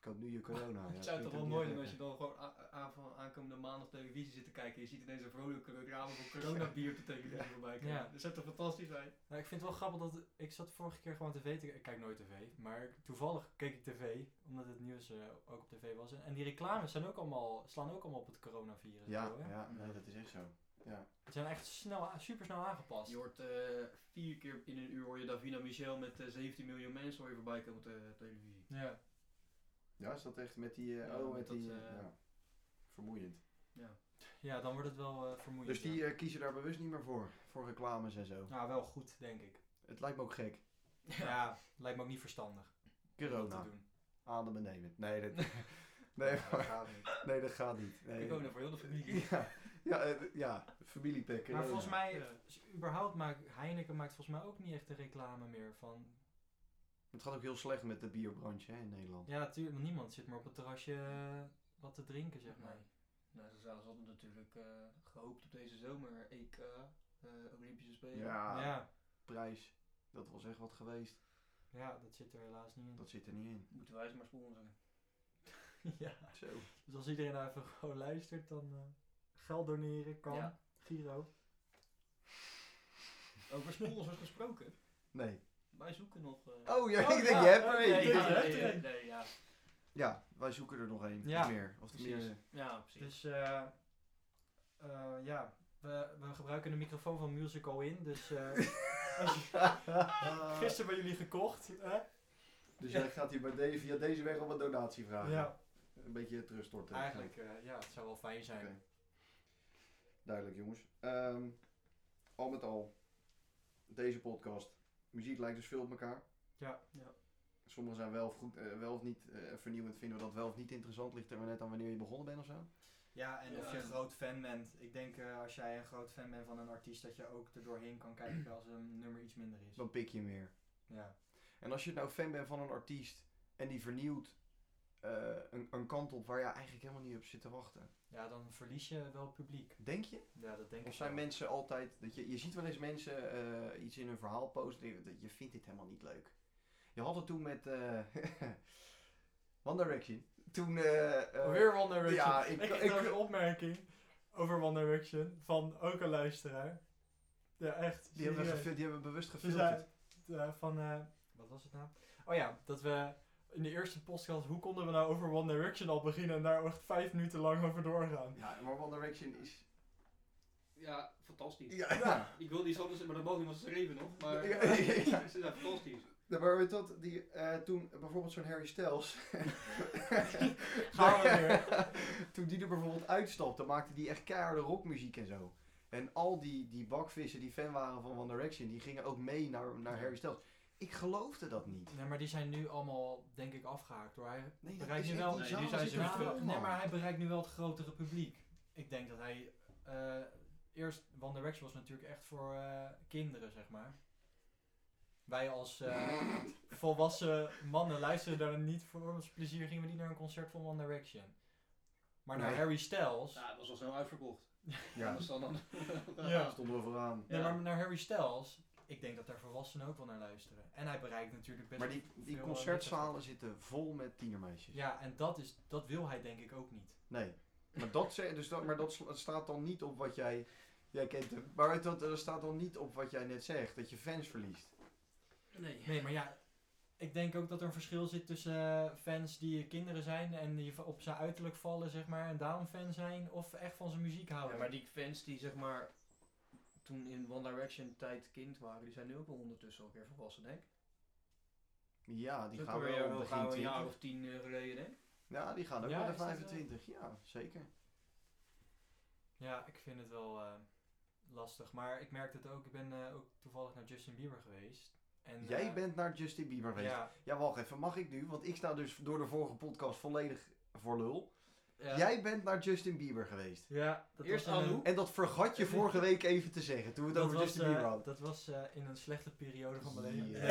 Speaker 3: Koop nu je corona. Ja,
Speaker 4: het zou
Speaker 3: klinkt
Speaker 4: toch
Speaker 3: ook
Speaker 4: wel
Speaker 3: niet
Speaker 4: mooi
Speaker 3: echt
Speaker 4: zijn als je
Speaker 3: lekker.
Speaker 4: dan gewoon a- a- van aankomende maandag televisie zit te kijken. en Je ziet ineens een vrolijke reclame voor coronabier op de televisie voorbij komen.
Speaker 2: Ja.
Speaker 4: Dat zou toch fantastisch zijn?
Speaker 2: Nou, ik vind het wel grappig dat ik zat vorige keer gewoon tv te Ik kijk nooit tv, maar toevallig keek ik tv omdat het nieuws eh, ook op tv was. En, en die reclames zijn ook allemaal, slaan ook allemaal op het coronavirus. en
Speaker 3: Ja,
Speaker 2: zo, hè?
Speaker 3: ja, nee, dat is echt zo. Ja.
Speaker 2: Ze zijn echt snel, super snel aangepast.
Speaker 4: Je hoort eh, vier keer in een uur hoor je Davina Michel met eh, 17 miljoen mensen hoor je voorbij komen op de televisie.
Speaker 2: Ja.
Speaker 3: Ja, is dat echt met die... eh,
Speaker 4: Ja,
Speaker 3: oh,
Speaker 4: met
Speaker 3: met
Speaker 4: dat,
Speaker 3: die...
Speaker 4: eh,
Speaker 3: ja. Vermoeiend.
Speaker 2: ja, dan wordt het wel eh, vermoeiend.
Speaker 3: Dus die
Speaker 2: ja.
Speaker 3: eh, kiezen daar bewust niet meer voor. Voor reclames en zo.
Speaker 2: Nou, wel goed, denk ik.
Speaker 3: Het lijkt me ook gek.
Speaker 2: Ja, lijkt me ook niet verstandig om dat
Speaker 3: Corona.
Speaker 2: te doen.
Speaker 3: Ademen nemen. Nee, dat... nee, maar- nee, dat gaat niet. Nee.
Speaker 4: Ik ook nog voor heel de familie.
Speaker 3: Ja, ja, eh, ja. familiepack.
Speaker 2: Maar
Speaker 3: eh, ja.
Speaker 2: volgens mij, dus überhaupt maakt Heineken maakt volgens mij ook niet echt een reclame meer van.
Speaker 3: Het gaat ook heel slecht met de bierbranche hè, in Nederland.
Speaker 2: Ja, natuurlijk, niemand zit meer op het terrasje eh, wat te drinken, zeg maar.
Speaker 4: Nee. Nou, ze zouden- ze hadden natuurlijk eh, gehoopt op deze zomer EK, eh, Olympische Spelen.
Speaker 3: Ja,
Speaker 2: Ja,
Speaker 3: prijs. Dat was echt wat geweest.
Speaker 2: ja, dat zit er helaas niet in.
Speaker 3: Dat zit er niet in.
Speaker 4: Moeten wij ze maar sponsoren.
Speaker 2: [laughs] ja.
Speaker 3: Zo.
Speaker 2: Dus als iedereen nou even gewoon luistert, dan eh, geld doneren kan.
Speaker 4: Ja.
Speaker 2: Giro.
Speaker 4: Over sponsors gesproken.
Speaker 3: Nee.
Speaker 4: Wij zoeken nog. eh,
Speaker 3: Oh ja,
Speaker 2: Oh,
Speaker 3: ik denk,
Speaker 2: ja,
Speaker 3: je hebt er
Speaker 2: oké,
Speaker 3: één.
Speaker 2: ja,
Speaker 4: Nee,
Speaker 3: Ja,
Speaker 2: ja, ja.
Speaker 4: nee,
Speaker 2: echt
Speaker 4: nee,
Speaker 2: een.
Speaker 4: nee, ja.
Speaker 3: wij zoeken er nog één.
Speaker 2: Ja,
Speaker 3: Of meer. Of
Speaker 4: precies.
Speaker 3: meer.
Speaker 1: [laughs]
Speaker 4: Ja, precies.
Speaker 2: Dus eh, eh, ja, we, we gebruiken de microfoon van Musical in. Dus eh,
Speaker 3: [laughs]
Speaker 2: als je- gisteren bij jullie gekocht. Hè?
Speaker 3: Dus jij gaat hier bij de, via deze weg om een donatie vragen.
Speaker 2: Ja,
Speaker 3: Een beetje terug storten.
Speaker 2: eigenlijk, eh, ja, het zou wel fijn zijn.
Speaker 3: Oké. Duidelijk jongens. Ehm, al met al, deze podcast. Muziek lijkt dus veel op elkaar.
Speaker 2: Ja.
Speaker 4: Ja.
Speaker 3: Sommigen zijn wel of, goed, eh, wel of niet eh, vernieuwend, vinden we dat wel of niet interessant. Ligt er maar net aan wanneer je begonnen bent of zo.
Speaker 2: Ja, en of
Speaker 4: Ja.
Speaker 2: je een groot fan bent. Ik denk eh, als jij een groot fan bent van een artiest, dat je ook er doorheen kan kijken als een nummer iets minder is.
Speaker 3: Dan pik je meer.
Speaker 2: Ja.
Speaker 3: En als je nou fan bent van een artiest en die vernieuwt eh, een, een kant op waar je eigenlijk helemaal niet op zit te wachten.
Speaker 2: ja, dan verlies je wel publiek.
Speaker 3: Denk je?
Speaker 2: Ja, dat denk ik
Speaker 3: Of zijn
Speaker 2: wel.
Speaker 3: mensen altijd. Dat je, je ziet wel eens mensen eh, iets in hun verhaal posten. die- Dat je vindt dit helemaal niet leuk. Je had het toen met eh, [laughs] One Direction. Toen. eh, eh,
Speaker 2: Weer One Direction. [laughs]
Speaker 3: ja,
Speaker 2: ik,
Speaker 3: ik-
Speaker 2: kreeg
Speaker 3: ik-
Speaker 2: trouwens een opmerking over One Direction van ook een luisteraar. Ja, echt.
Speaker 3: die, hebben we
Speaker 2: serieus. Dus
Speaker 3: gefil- die hebben we bewust
Speaker 2: Ze
Speaker 3: gefilterd.
Speaker 2: zei eh, van, eh, wat was het nou? Oh ja, dat we in de eerste podcast, hoe konden we nou over One Direction al beginnen en daar echt vijf minuten lang over doorgaan?
Speaker 3: Ja, maar One Direction is.
Speaker 1: Ja, fantastisch.
Speaker 3: Ja, ja.
Speaker 1: Ik wilde iets anders, maar dat mogen iemand schreven nog. Maar
Speaker 3: Ja,
Speaker 1: eh, [laughs]
Speaker 3: ja, ja.
Speaker 1: ze zijn fantastisch.
Speaker 3: Ja, maar weet je dat? Die, eh, toen bijvoorbeeld zo'n Harry [laughs] Styles.
Speaker 2: Gaan we
Speaker 3: [laughs] toen die er bijvoorbeeld uitstapte, maakte die echt keiharde rockmuziek en zo. En al die, die bakvissen die fan waren van One Direction, die gingen ook mee naar, naar Harry Styles. Ik geloofde dat niet.
Speaker 2: Nee, maar die zijn nu allemaal, denk ik, afgehaakt door hij
Speaker 3: Nee, dat
Speaker 2: bereikt
Speaker 3: is
Speaker 2: nu
Speaker 3: echt
Speaker 2: wel...
Speaker 3: die
Speaker 4: Nee,
Speaker 3: zaal
Speaker 4: die zijn
Speaker 3: zit
Speaker 4: ze
Speaker 3: er
Speaker 4: wel
Speaker 3: vol,
Speaker 4: veel,
Speaker 2: nee,
Speaker 3: man.
Speaker 2: maar hij bereikt nu wel het grotere publiek. Ik denk dat hij... eh, eerst, One Direction was natuurlijk echt voor eh, kinderen, zeg maar. Wij als eh,
Speaker 3: [laughs]
Speaker 2: volwassen mannen luisterden daar niet voor. Ons plezier gingen we niet naar een concert van One Direction. Maar naar
Speaker 3: Nee.
Speaker 2: Harry Styles...
Speaker 1: Nou, dat was al snel uitverkocht.
Speaker 3: Ja,
Speaker 1: Anders dan dan.
Speaker 2: Ja.
Speaker 3: stonden we vooraan.
Speaker 2: Nee, maar naar Harry Styles... Ik denk dat daar volwassenen ook wel naar luisteren. En hij bereikt natuurlijk best
Speaker 3: Maar die,
Speaker 2: veel,
Speaker 3: die
Speaker 2: eh,
Speaker 3: concertzalen zitten vol met tienermeisjes.
Speaker 2: Ja, en dat, is, dat wil hij denk ik ook niet.
Speaker 3: Nee. Maar dat, ze- dus dat, maar dat sla- staat dan niet op wat jij... Jij kent hem. Maar weet je dat, dat staat dan niet op wat jij net zegt. Dat je fans verliest.
Speaker 4: nee.
Speaker 2: Nee, maar ja, ik denk ook dat er een verschil zit tussen eh, fans die kinderen zijn en die va- op zijn uiterlijk vallen, zeg maar, en daarom fan zijn, of echt van zijn muziek houden.
Speaker 4: Ja, maar die fans die zeg maar toen in One Direction tijd kind waren, die zijn nu ook wel ondertussen alweer volwassen, denk ik.
Speaker 3: Ja, die
Speaker 4: Zo
Speaker 3: gaan
Speaker 4: kom je
Speaker 3: wel
Speaker 4: al
Speaker 3: begin
Speaker 4: gauw een
Speaker 3: 20.
Speaker 4: jaar of tien eh, geleden, denk ik.
Speaker 3: Ja, die gaan ook
Speaker 2: Ja,
Speaker 3: naar de
Speaker 2: is dat, eh,
Speaker 3: 25. Ja, zeker.
Speaker 2: Ja, ik vind het wel eh, lastig, maar ik merk het ook. Ik ben eh, ook toevallig naar Justin Bieber geweest. En,
Speaker 3: Jij
Speaker 2: eh,
Speaker 3: bent naar Justin Bieber geweest. Ja.
Speaker 2: Ja,
Speaker 3: wacht even. Mag ik nu? Want ik sta dus door de vorige podcast volledig voor lul.
Speaker 2: ja,
Speaker 3: Jij bent naar Justin Bieber geweest.
Speaker 2: ja, dat
Speaker 4: Eerst
Speaker 2: was in
Speaker 4: Anouk.
Speaker 2: een-
Speaker 3: En dat vergat je vorige week even te zeggen toen we het
Speaker 2: Dat
Speaker 3: over
Speaker 2: was,
Speaker 3: Justin
Speaker 2: eh,
Speaker 3: Bieber hadden.
Speaker 2: dat was eh, in een slechte periode van mijn leven.
Speaker 3: Ja.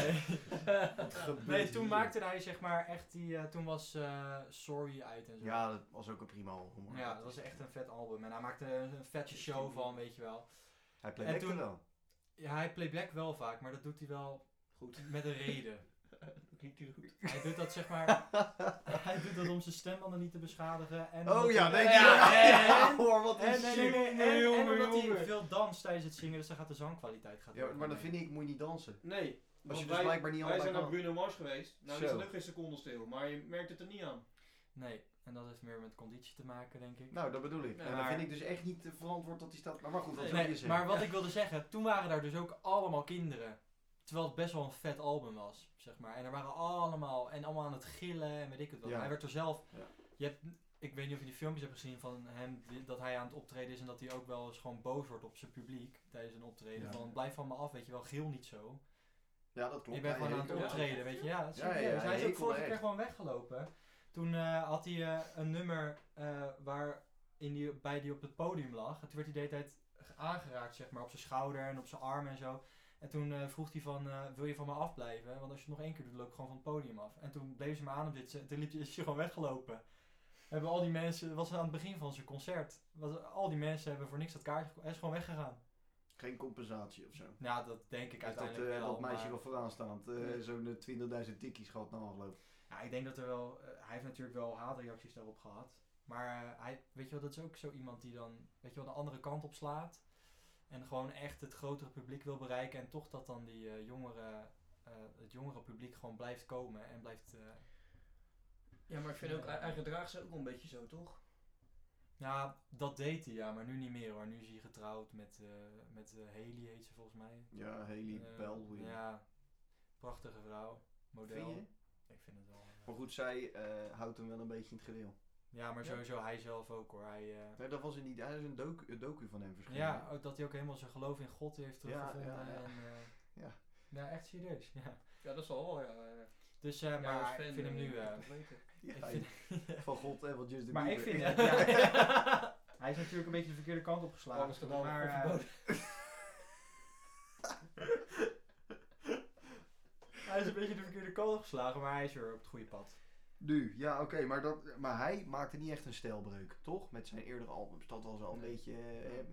Speaker 2: Nee.
Speaker 3: [laughs] Wat gebeurt
Speaker 2: nee, toen
Speaker 3: hier?
Speaker 2: maakte hij zeg maar echt die. eh, toen was eh, Sorry uit en zo.
Speaker 3: Ja, dat was ook een prima album. hoor.
Speaker 2: Ja, dat was echt een vet album. En hij maakte een een vette show van, weet je wel.
Speaker 3: Hij playbackte
Speaker 2: en toen-
Speaker 3: wel.
Speaker 2: Ja, hij playback wel vaak, maar dat doet hij wel
Speaker 1: Goed.
Speaker 2: met een reden.
Speaker 4: Klinkt die goed?
Speaker 2: Hij doet dat zeg maar. hij doet dat om zijn stembanden niet te beschadigen. En
Speaker 3: Oh
Speaker 2: omdat
Speaker 3: ja,
Speaker 2: hij-
Speaker 3: nee,
Speaker 4: Ja,
Speaker 3: ja,
Speaker 4: en-
Speaker 3: [laughs] ja, hoor, wat
Speaker 2: En,
Speaker 3: is
Speaker 2: nee,
Speaker 3: shit.
Speaker 2: nee, nee, en- en
Speaker 4: Jongen,
Speaker 2: omdat hij
Speaker 4: jongen.
Speaker 2: veel danst tijdens het zingen, dus dan gaat de zangkwaliteit gaat
Speaker 3: Ja,
Speaker 2: ook
Speaker 3: maar dan
Speaker 2: mee.
Speaker 3: vind ik, moet je niet dansen.
Speaker 1: Nee.
Speaker 3: Als
Speaker 1: want
Speaker 3: je dus
Speaker 1: wij,
Speaker 3: blijkbaar niet
Speaker 1: wij
Speaker 3: allebei
Speaker 1: zijn naar
Speaker 3: kan.
Speaker 1: Bruno Mars geweest. Nou, die
Speaker 3: Zo.
Speaker 1: zat ook geen seconde stil. Maar je merkt het er niet aan.
Speaker 2: Nee, en dat heeft meer met conditie te maken, denk ik.
Speaker 3: Nou, dat bedoel ik.
Speaker 1: Ja,
Speaker 3: en dan
Speaker 2: maar-
Speaker 3: vind ik dus echt niet eh, verantwoord dat hij staat. Maar, maar goed, wat
Speaker 1: Nee,
Speaker 3: wil je
Speaker 2: Nee,
Speaker 3: zeggen?
Speaker 2: maar wat ik wilde zeggen, toen waren daar dus ook allemaal kinderen. Terwijl het best wel een vet album was, zeg maar. En er waren allemaal, en allemaal aan het gillen en weet ik het wel.
Speaker 3: Ja.
Speaker 2: Hij werd er zelf,
Speaker 3: Ja.
Speaker 2: je hebt, ik weet niet of je die filmpjes hebt gezien van hem, die- dat hij aan het optreden is en dat hij ook wel eens gewoon boos wordt op zijn publiek tijdens een optreden.
Speaker 3: Ja.
Speaker 2: Van blijf van me af, weet je wel, gil niet zo.
Speaker 3: Ja, dat klopt.
Speaker 2: ik ben
Speaker 3: Hij
Speaker 2: gewoon aan het
Speaker 3: hekelde.
Speaker 2: optreden, weet je. Ja, serieus.
Speaker 3: ja,
Speaker 2: hij is ook
Speaker 3: hekelde
Speaker 2: vorige keer
Speaker 3: echt.
Speaker 2: gewoon weggelopen. Toen eh, had hij eh, een nummer eh, waar in die, bij die op het podium lag. En toen werd hij de hele tijd ge- aangeraakt, zeg maar, op zijn schouder en op zijn arm en zo. En toen eh, vroeg hij van, eh, wil je van me afblijven? Want als je het nog één keer doet, loop ik gewoon van het podium af. En toen bleef ze maar aan op dit. Toen liep, is hij gewoon weggelopen. Hebben al die mensen, het was aan het begin van zijn concert. Was, al die mensen hebben voor niks dat kaartje gekocht. Hij is gewoon weggegaan.
Speaker 3: Geen compensatie of zo.
Speaker 2: Nou, dat denk ik
Speaker 3: Heeft dat,
Speaker 2: uiteindelijk
Speaker 3: eh,
Speaker 2: wel.
Speaker 3: dat meisje
Speaker 2: maar-
Speaker 3: wat vooraan staat, eh,
Speaker 2: Nee.
Speaker 3: zo'n eh, 20.000 tikkies gehad na afloop.
Speaker 2: Ja, ik denk dat er wel. eh, hij heeft natuurlijk wel haatreacties daarop gehad. Maar eh, hij, weet je wel, dat is ook zo iemand die dan, weet je wel, de andere kant op slaat. En gewoon echt het grotere publiek wil bereiken. En toch dat dan die eh, jongere, eh, het jongere publiek gewoon blijft komen en blijft. eh,
Speaker 1: Ja, maar ik
Speaker 2: vind ook, hij- hij
Speaker 1: gedraagt ze ook wel een beetje zo, toch?
Speaker 2: ja, dat deed hij ja, maar nu niet meer hoor. Nu is hij getrouwd met, eh, met eh, Haley, heet ze volgens mij.
Speaker 3: Ja, Haley
Speaker 2: Eh,
Speaker 3: Baldwin.
Speaker 2: Ja, prachtige vrouw.
Speaker 3: Vind
Speaker 2: Model.
Speaker 3: je?
Speaker 2: Ik vind het wel. eh,
Speaker 3: Maar goed, zij eh, houdt hem wel een beetje in het gedeel.
Speaker 2: ja, maar
Speaker 1: Ja.
Speaker 2: sowieso hij zelf ook hoor. Hij, eh,
Speaker 3: Nee, dat was er niet. Er is een docu, een docu van hem verschenen.
Speaker 2: Ja, ook dat hij ook helemaal zijn geloof in God heeft
Speaker 3: Ja,
Speaker 2: teruggevonden.
Speaker 3: ja, ja.
Speaker 2: En, eh,
Speaker 3: Ja.
Speaker 2: ja, echt serieus. Ja.
Speaker 1: Ja, dat zal wel, ja. ja.
Speaker 2: Dus, eh,
Speaker 1: Jij
Speaker 2: maar
Speaker 1: was
Speaker 2: ik
Speaker 1: fan,
Speaker 2: vind hem
Speaker 1: eh,
Speaker 2: [laughs] nu... eh,
Speaker 1: dat weten.
Speaker 3: [laughs] Ja,
Speaker 2: ik vind,
Speaker 3: van God en
Speaker 2: [laughs]
Speaker 3: wat Justin
Speaker 2: maar ik
Speaker 3: Bieber.
Speaker 2: vind... het, ja. [laughs] Hij is natuurlijk een beetje de verkeerde kant opgeslagen.
Speaker 1: Alles gedaan,
Speaker 2: maar, eh,
Speaker 1: verboden.
Speaker 2: [laughs] hij is een beetje de verkeerde kant opgeslagen, maar hij is weer op het goede pad.
Speaker 3: Nu, ja, oké, maar, dat- maar hij maakte niet echt een stijlbreuk, toch? Met zijn eerdere albums. Dat was al een
Speaker 2: Nee.
Speaker 3: beetje eh, eh,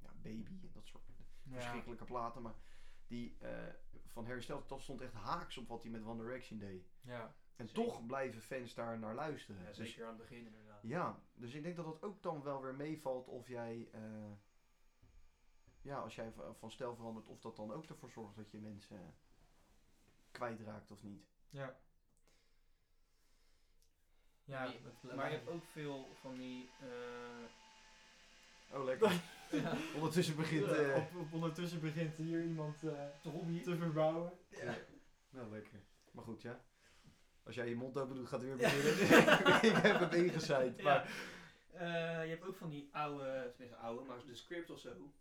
Speaker 3: ja, baby en dat soort
Speaker 2: Ja.
Speaker 3: verschrikkelijke platen. Maar die eh, van hersteld, dat stond echt haaks op wat hij met One Direction deed.
Speaker 2: ja.
Speaker 3: En
Speaker 1: Zeker.
Speaker 3: toch blijven fans daar naar luisteren.
Speaker 1: Ja,
Speaker 3: Dus-
Speaker 1: zeker aan het begin inderdaad.
Speaker 3: Ja, dus ik denk dat dat ook dan wel weer meevalt of jij, eh, ja, als jij va- van stijl verandert, of dat dan ook ervoor zorgt dat je mensen eh, kwijtraakt of niet.
Speaker 2: Ja. Ja,
Speaker 1: Nee,
Speaker 2: het-
Speaker 1: Maar je hebt ook veel van die... eh,
Speaker 3: Oh, lekker.
Speaker 2: [laughs]
Speaker 3: Ondertussen begint. eh,
Speaker 2: op, op- ondertussen begint hier iemand eh,
Speaker 1: [laughs]
Speaker 2: te verbouwen.
Speaker 3: Nou, lekker. Maar goed, ja. Als jij je mond open doet, gaat hij weer beginnen.
Speaker 1: [laughs]
Speaker 3: ik heb het ingezeid.
Speaker 1: Ja.
Speaker 3: Maar
Speaker 1: Eh, je hebt ook van die oude, tenminste oude, maar de script of zo.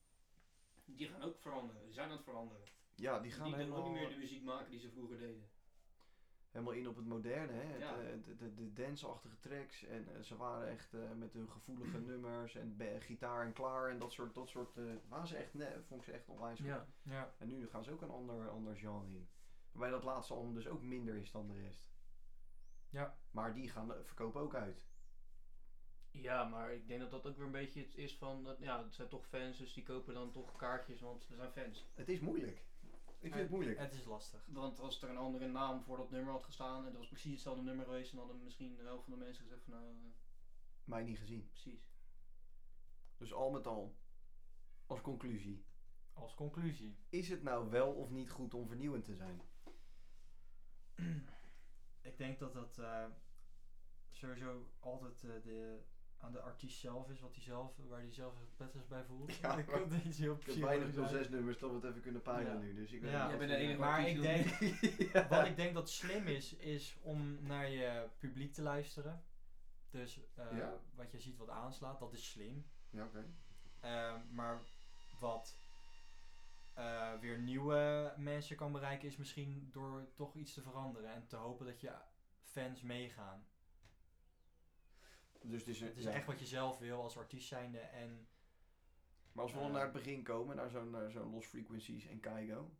Speaker 1: Die gaan ook veranderen. Die zijn aan het veranderen.
Speaker 3: ja, die
Speaker 1: Die
Speaker 3: gaan
Speaker 1: gaan ook
Speaker 3: helemaal,
Speaker 1: niet meer de muziek maken die ze vroeger deden.
Speaker 3: helemaal in op het moderne. Hè?
Speaker 1: Ja.
Speaker 3: Het, eh, de, de, de dance-achtige tracks. En eh, ze waren echt eh, met hun
Speaker 1: [clears throat]
Speaker 3: gevoelige nummers en be- gitaar en klaar. En dat soort, dat soort eh, waren ze echt, nee, vond ik ze echt onwijs goed.
Speaker 2: Ja. ja.
Speaker 3: En nu gaan ze ook een ander, ander genre in. Waarbij dat laatste album dus ook minder is dan de rest.
Speaker 2: Ja.
Speaker 3: Maar die gaan de- verkopen ook uit.
Speaker 1: Ja, maar ik denk dat dat ook weer een beetje het is van, dat- ja, het zijn toch fans, dus die kopen dan toch kaartjes, want er zijn fans.
Speaker 3: Het is moeilijk. Ik vind het moeilijk.
Speaker 2: Het is lastig.
Speaker 1: Want als er een andere naam voor dat nummer had gestaan en dat was precies hetzelfde nummer geweest, dan hadden misschien de helft van de mensen gezegd van, nou, eh,
Speaker 3: Mij niet gezien.
Speaker 1: precies.
Speaker 3: Dus al met al, als conclusie,
Speaker 2: Als conclusie.
Speaker 3: is het nou wel of niet goed om vernieuwend te zijn?
Speaker 2: [clears throat] Ik denk dat dat eh, sowieso altijd eh, de, aan de artiest zelf is, wat hij zelf, waar hij zelf het prettigst bij voelt.
Speaker 3: Ja,
Speaker 2: [laughs] ik
Speaker 3: maar
Speaker 2: kan niet heel
Speaker 3: Ik heb
Speaker 2: precies
Speaker 3: weinig
Speaker 2: zijn.
Speaker 3: 06 nummers dat we het even kunnen peilen
Speaker 2: Ja.
Speaker 3: nu, dus ik weet
Speaker 2: Ja.
Speaker 3: niet.
Speaker 2: Jij
Speaker 3: wat
Speaker 1: bent de
Speaker 3: voor-
Speaker 1: enige
Speaker 2: Maar
Speaker 1: artiest
Speaker 2: ik
Speaker 1: die het
Speaker 2: denk,
Speaker 1: doet.
Speaker 3: [laughs] Ja.
Speaker 2: wat ik denk dat slim is, is om naar je publiek te luisteren. Dus eh,
Speaker 3: Ja.
Speaker 2: wat je ziet wat aanslaat, dat is slim.
Speaker 3: Ja, oké.
Speaker 2: Eh, maar wat eh, weer nieuwe mensen kan bereiken, is misschien door toch iets te veranderen en te hopen dat je fans meegaan.
Speaker 3: Dus het is,
Speaker 2: Het is
Speaker 3: ja.
Speaker 2: echt wat je zelf wil als artiest zijnde en
Speaker 3: Maar als we dan
Speaker 2: eh,
Speaker 3: naar het begin komen, naar zo'n naar zo'n Lost Frequencies en Kaigo.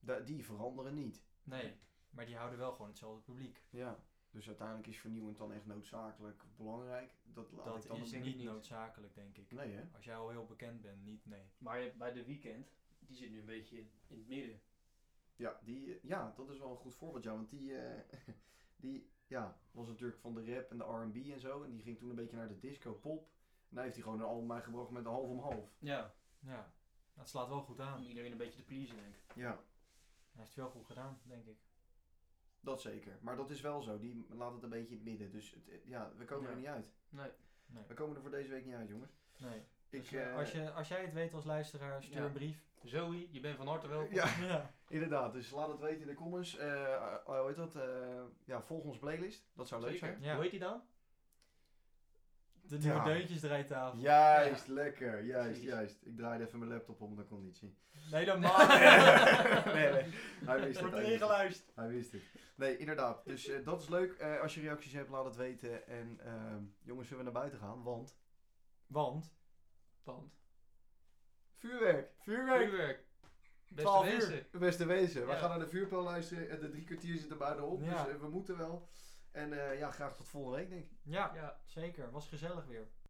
Speaker 3: da- die veranderen niet.
Speaker 2: Nee, maar die houden wel gewoon hetzelfde publiek.
Speaker 3: Ja. Dus uiteindelijk is vernieuwend dan echt noodzakelijk belangrijk. Dat laat
Speaker 2: dat
Speaker 3: ik dan
Speaker 2: is
Speaker 3: denk
Speaker 2: niet,
Speaker 3: ik niet.
Speaker 2: noodzakelijk, denk ik.
Speaker 3: Nee hè?
Speaker 2: Als jij al heel bekend bent, niet nee.
Speaker 1: Maar je hebt bij de weekend, die zit nu een beetje in, in het midden.
Speaker 3: Ja, die, eh, ja, dat is wel een goed voorbeeld, ja. Want die, eh, [laughs] die ja, was natuurlijk van de rap en de R&B en zo. En die ging toen een beetje naar de disco-pop. En daar heeft hij gewoon een album uitgebracht met een half om half.
Speaker 4: Ja,
Speaker 2: Ja, dat slaat wel goed aan.
Speaker 4: om iedereen een beetje te pleasen, denk ik.
Speaker 3: Ja,
Speaker 2: Hij heeft het wel goed gedaan, denk ik.
Speaker 3: dat zeker. Maar dat is wel zo. Die laat het een beetje in het midden. Dus het, eh, ja, we komen
Speaker 4: Ja.
Speaker 3: er niet uit.
Speaker 4: Nee.
Speaker 2: Nee.
Speaker 3: We komen er voor deze week niet uit, jongens.
Speaker 2: Nee.
Speaker 3: Ik,
Speaker 2: Dus, eh,
Speaker 3: eh,
Speaker 2: als, je, als jij het weet als luisteraar, stuur
Speaker 4: ja.
Speaker 2: een brief.
Speaker 4: Zoe, je bent van harte welkom.
Speaker 3: [laughs] Ja,
Speaker 2: Ja.
Speaker 3: inderdaad. Dus laat het weten in de comments. Eh, eh, hoe heet dat? Eh, ja, volg onze playlist. Dat zou leuk
Speaker 4: Zeker.
Speaker 3: zijn.
Speaker 2: Ja.
Speaker 4: Hoe heet die dan?
Speaker 2: De
Speaker 3: Ja.
Speaker 2: nieuwe deuntjes draaitafel.
Speaker 3: Juist, lekker. Juist,
Speaker 4: Precies.
Speaker 3: juist. Ik draaide even mijn laptop om, dan kon niet zien.
Speaker 2: Nee,
Speaker 3: [laughs]
Speaker 4: [laughs]
Speaker 2: dat mag.
Speaker 3: nee, nee. Hij wist het.
Speaker 2: Wordt
Speaker 3: hij wist het.
Speaker 2: ingeluisterd.
Speaker 3: Hij wist het. Nee, inderdaad. Dus eh, dat is leuk. Eh, als je reacties hebt, laat het weten. En ehm, jongens, zullen we naar buiten gaan? Want
Speaker 2: Want,
Speaker 4: Pand.
Speaker 3: vuurwerk!
Speaker 2: vuurwerk.
Speaker 4: Vuurwerk. Beste
Speaker 2: 12 uur.
Speaker 4: mensen.
Speaker 3: Beste wezen, we
Speaker 4: Ja.
Speaker 3: gaan naar de vuurpijl luisteren. En de drie kwartier zitten bijna op.
Speaker 2: Ja.
Speaker 3: Dus eh, we moeten wel. En eh, ja, graag tot volgende week, denk ik.
Speaker 2: Ja,
Speaker 4: Ja.
Speaker 2: zeker. Was gezellig weer.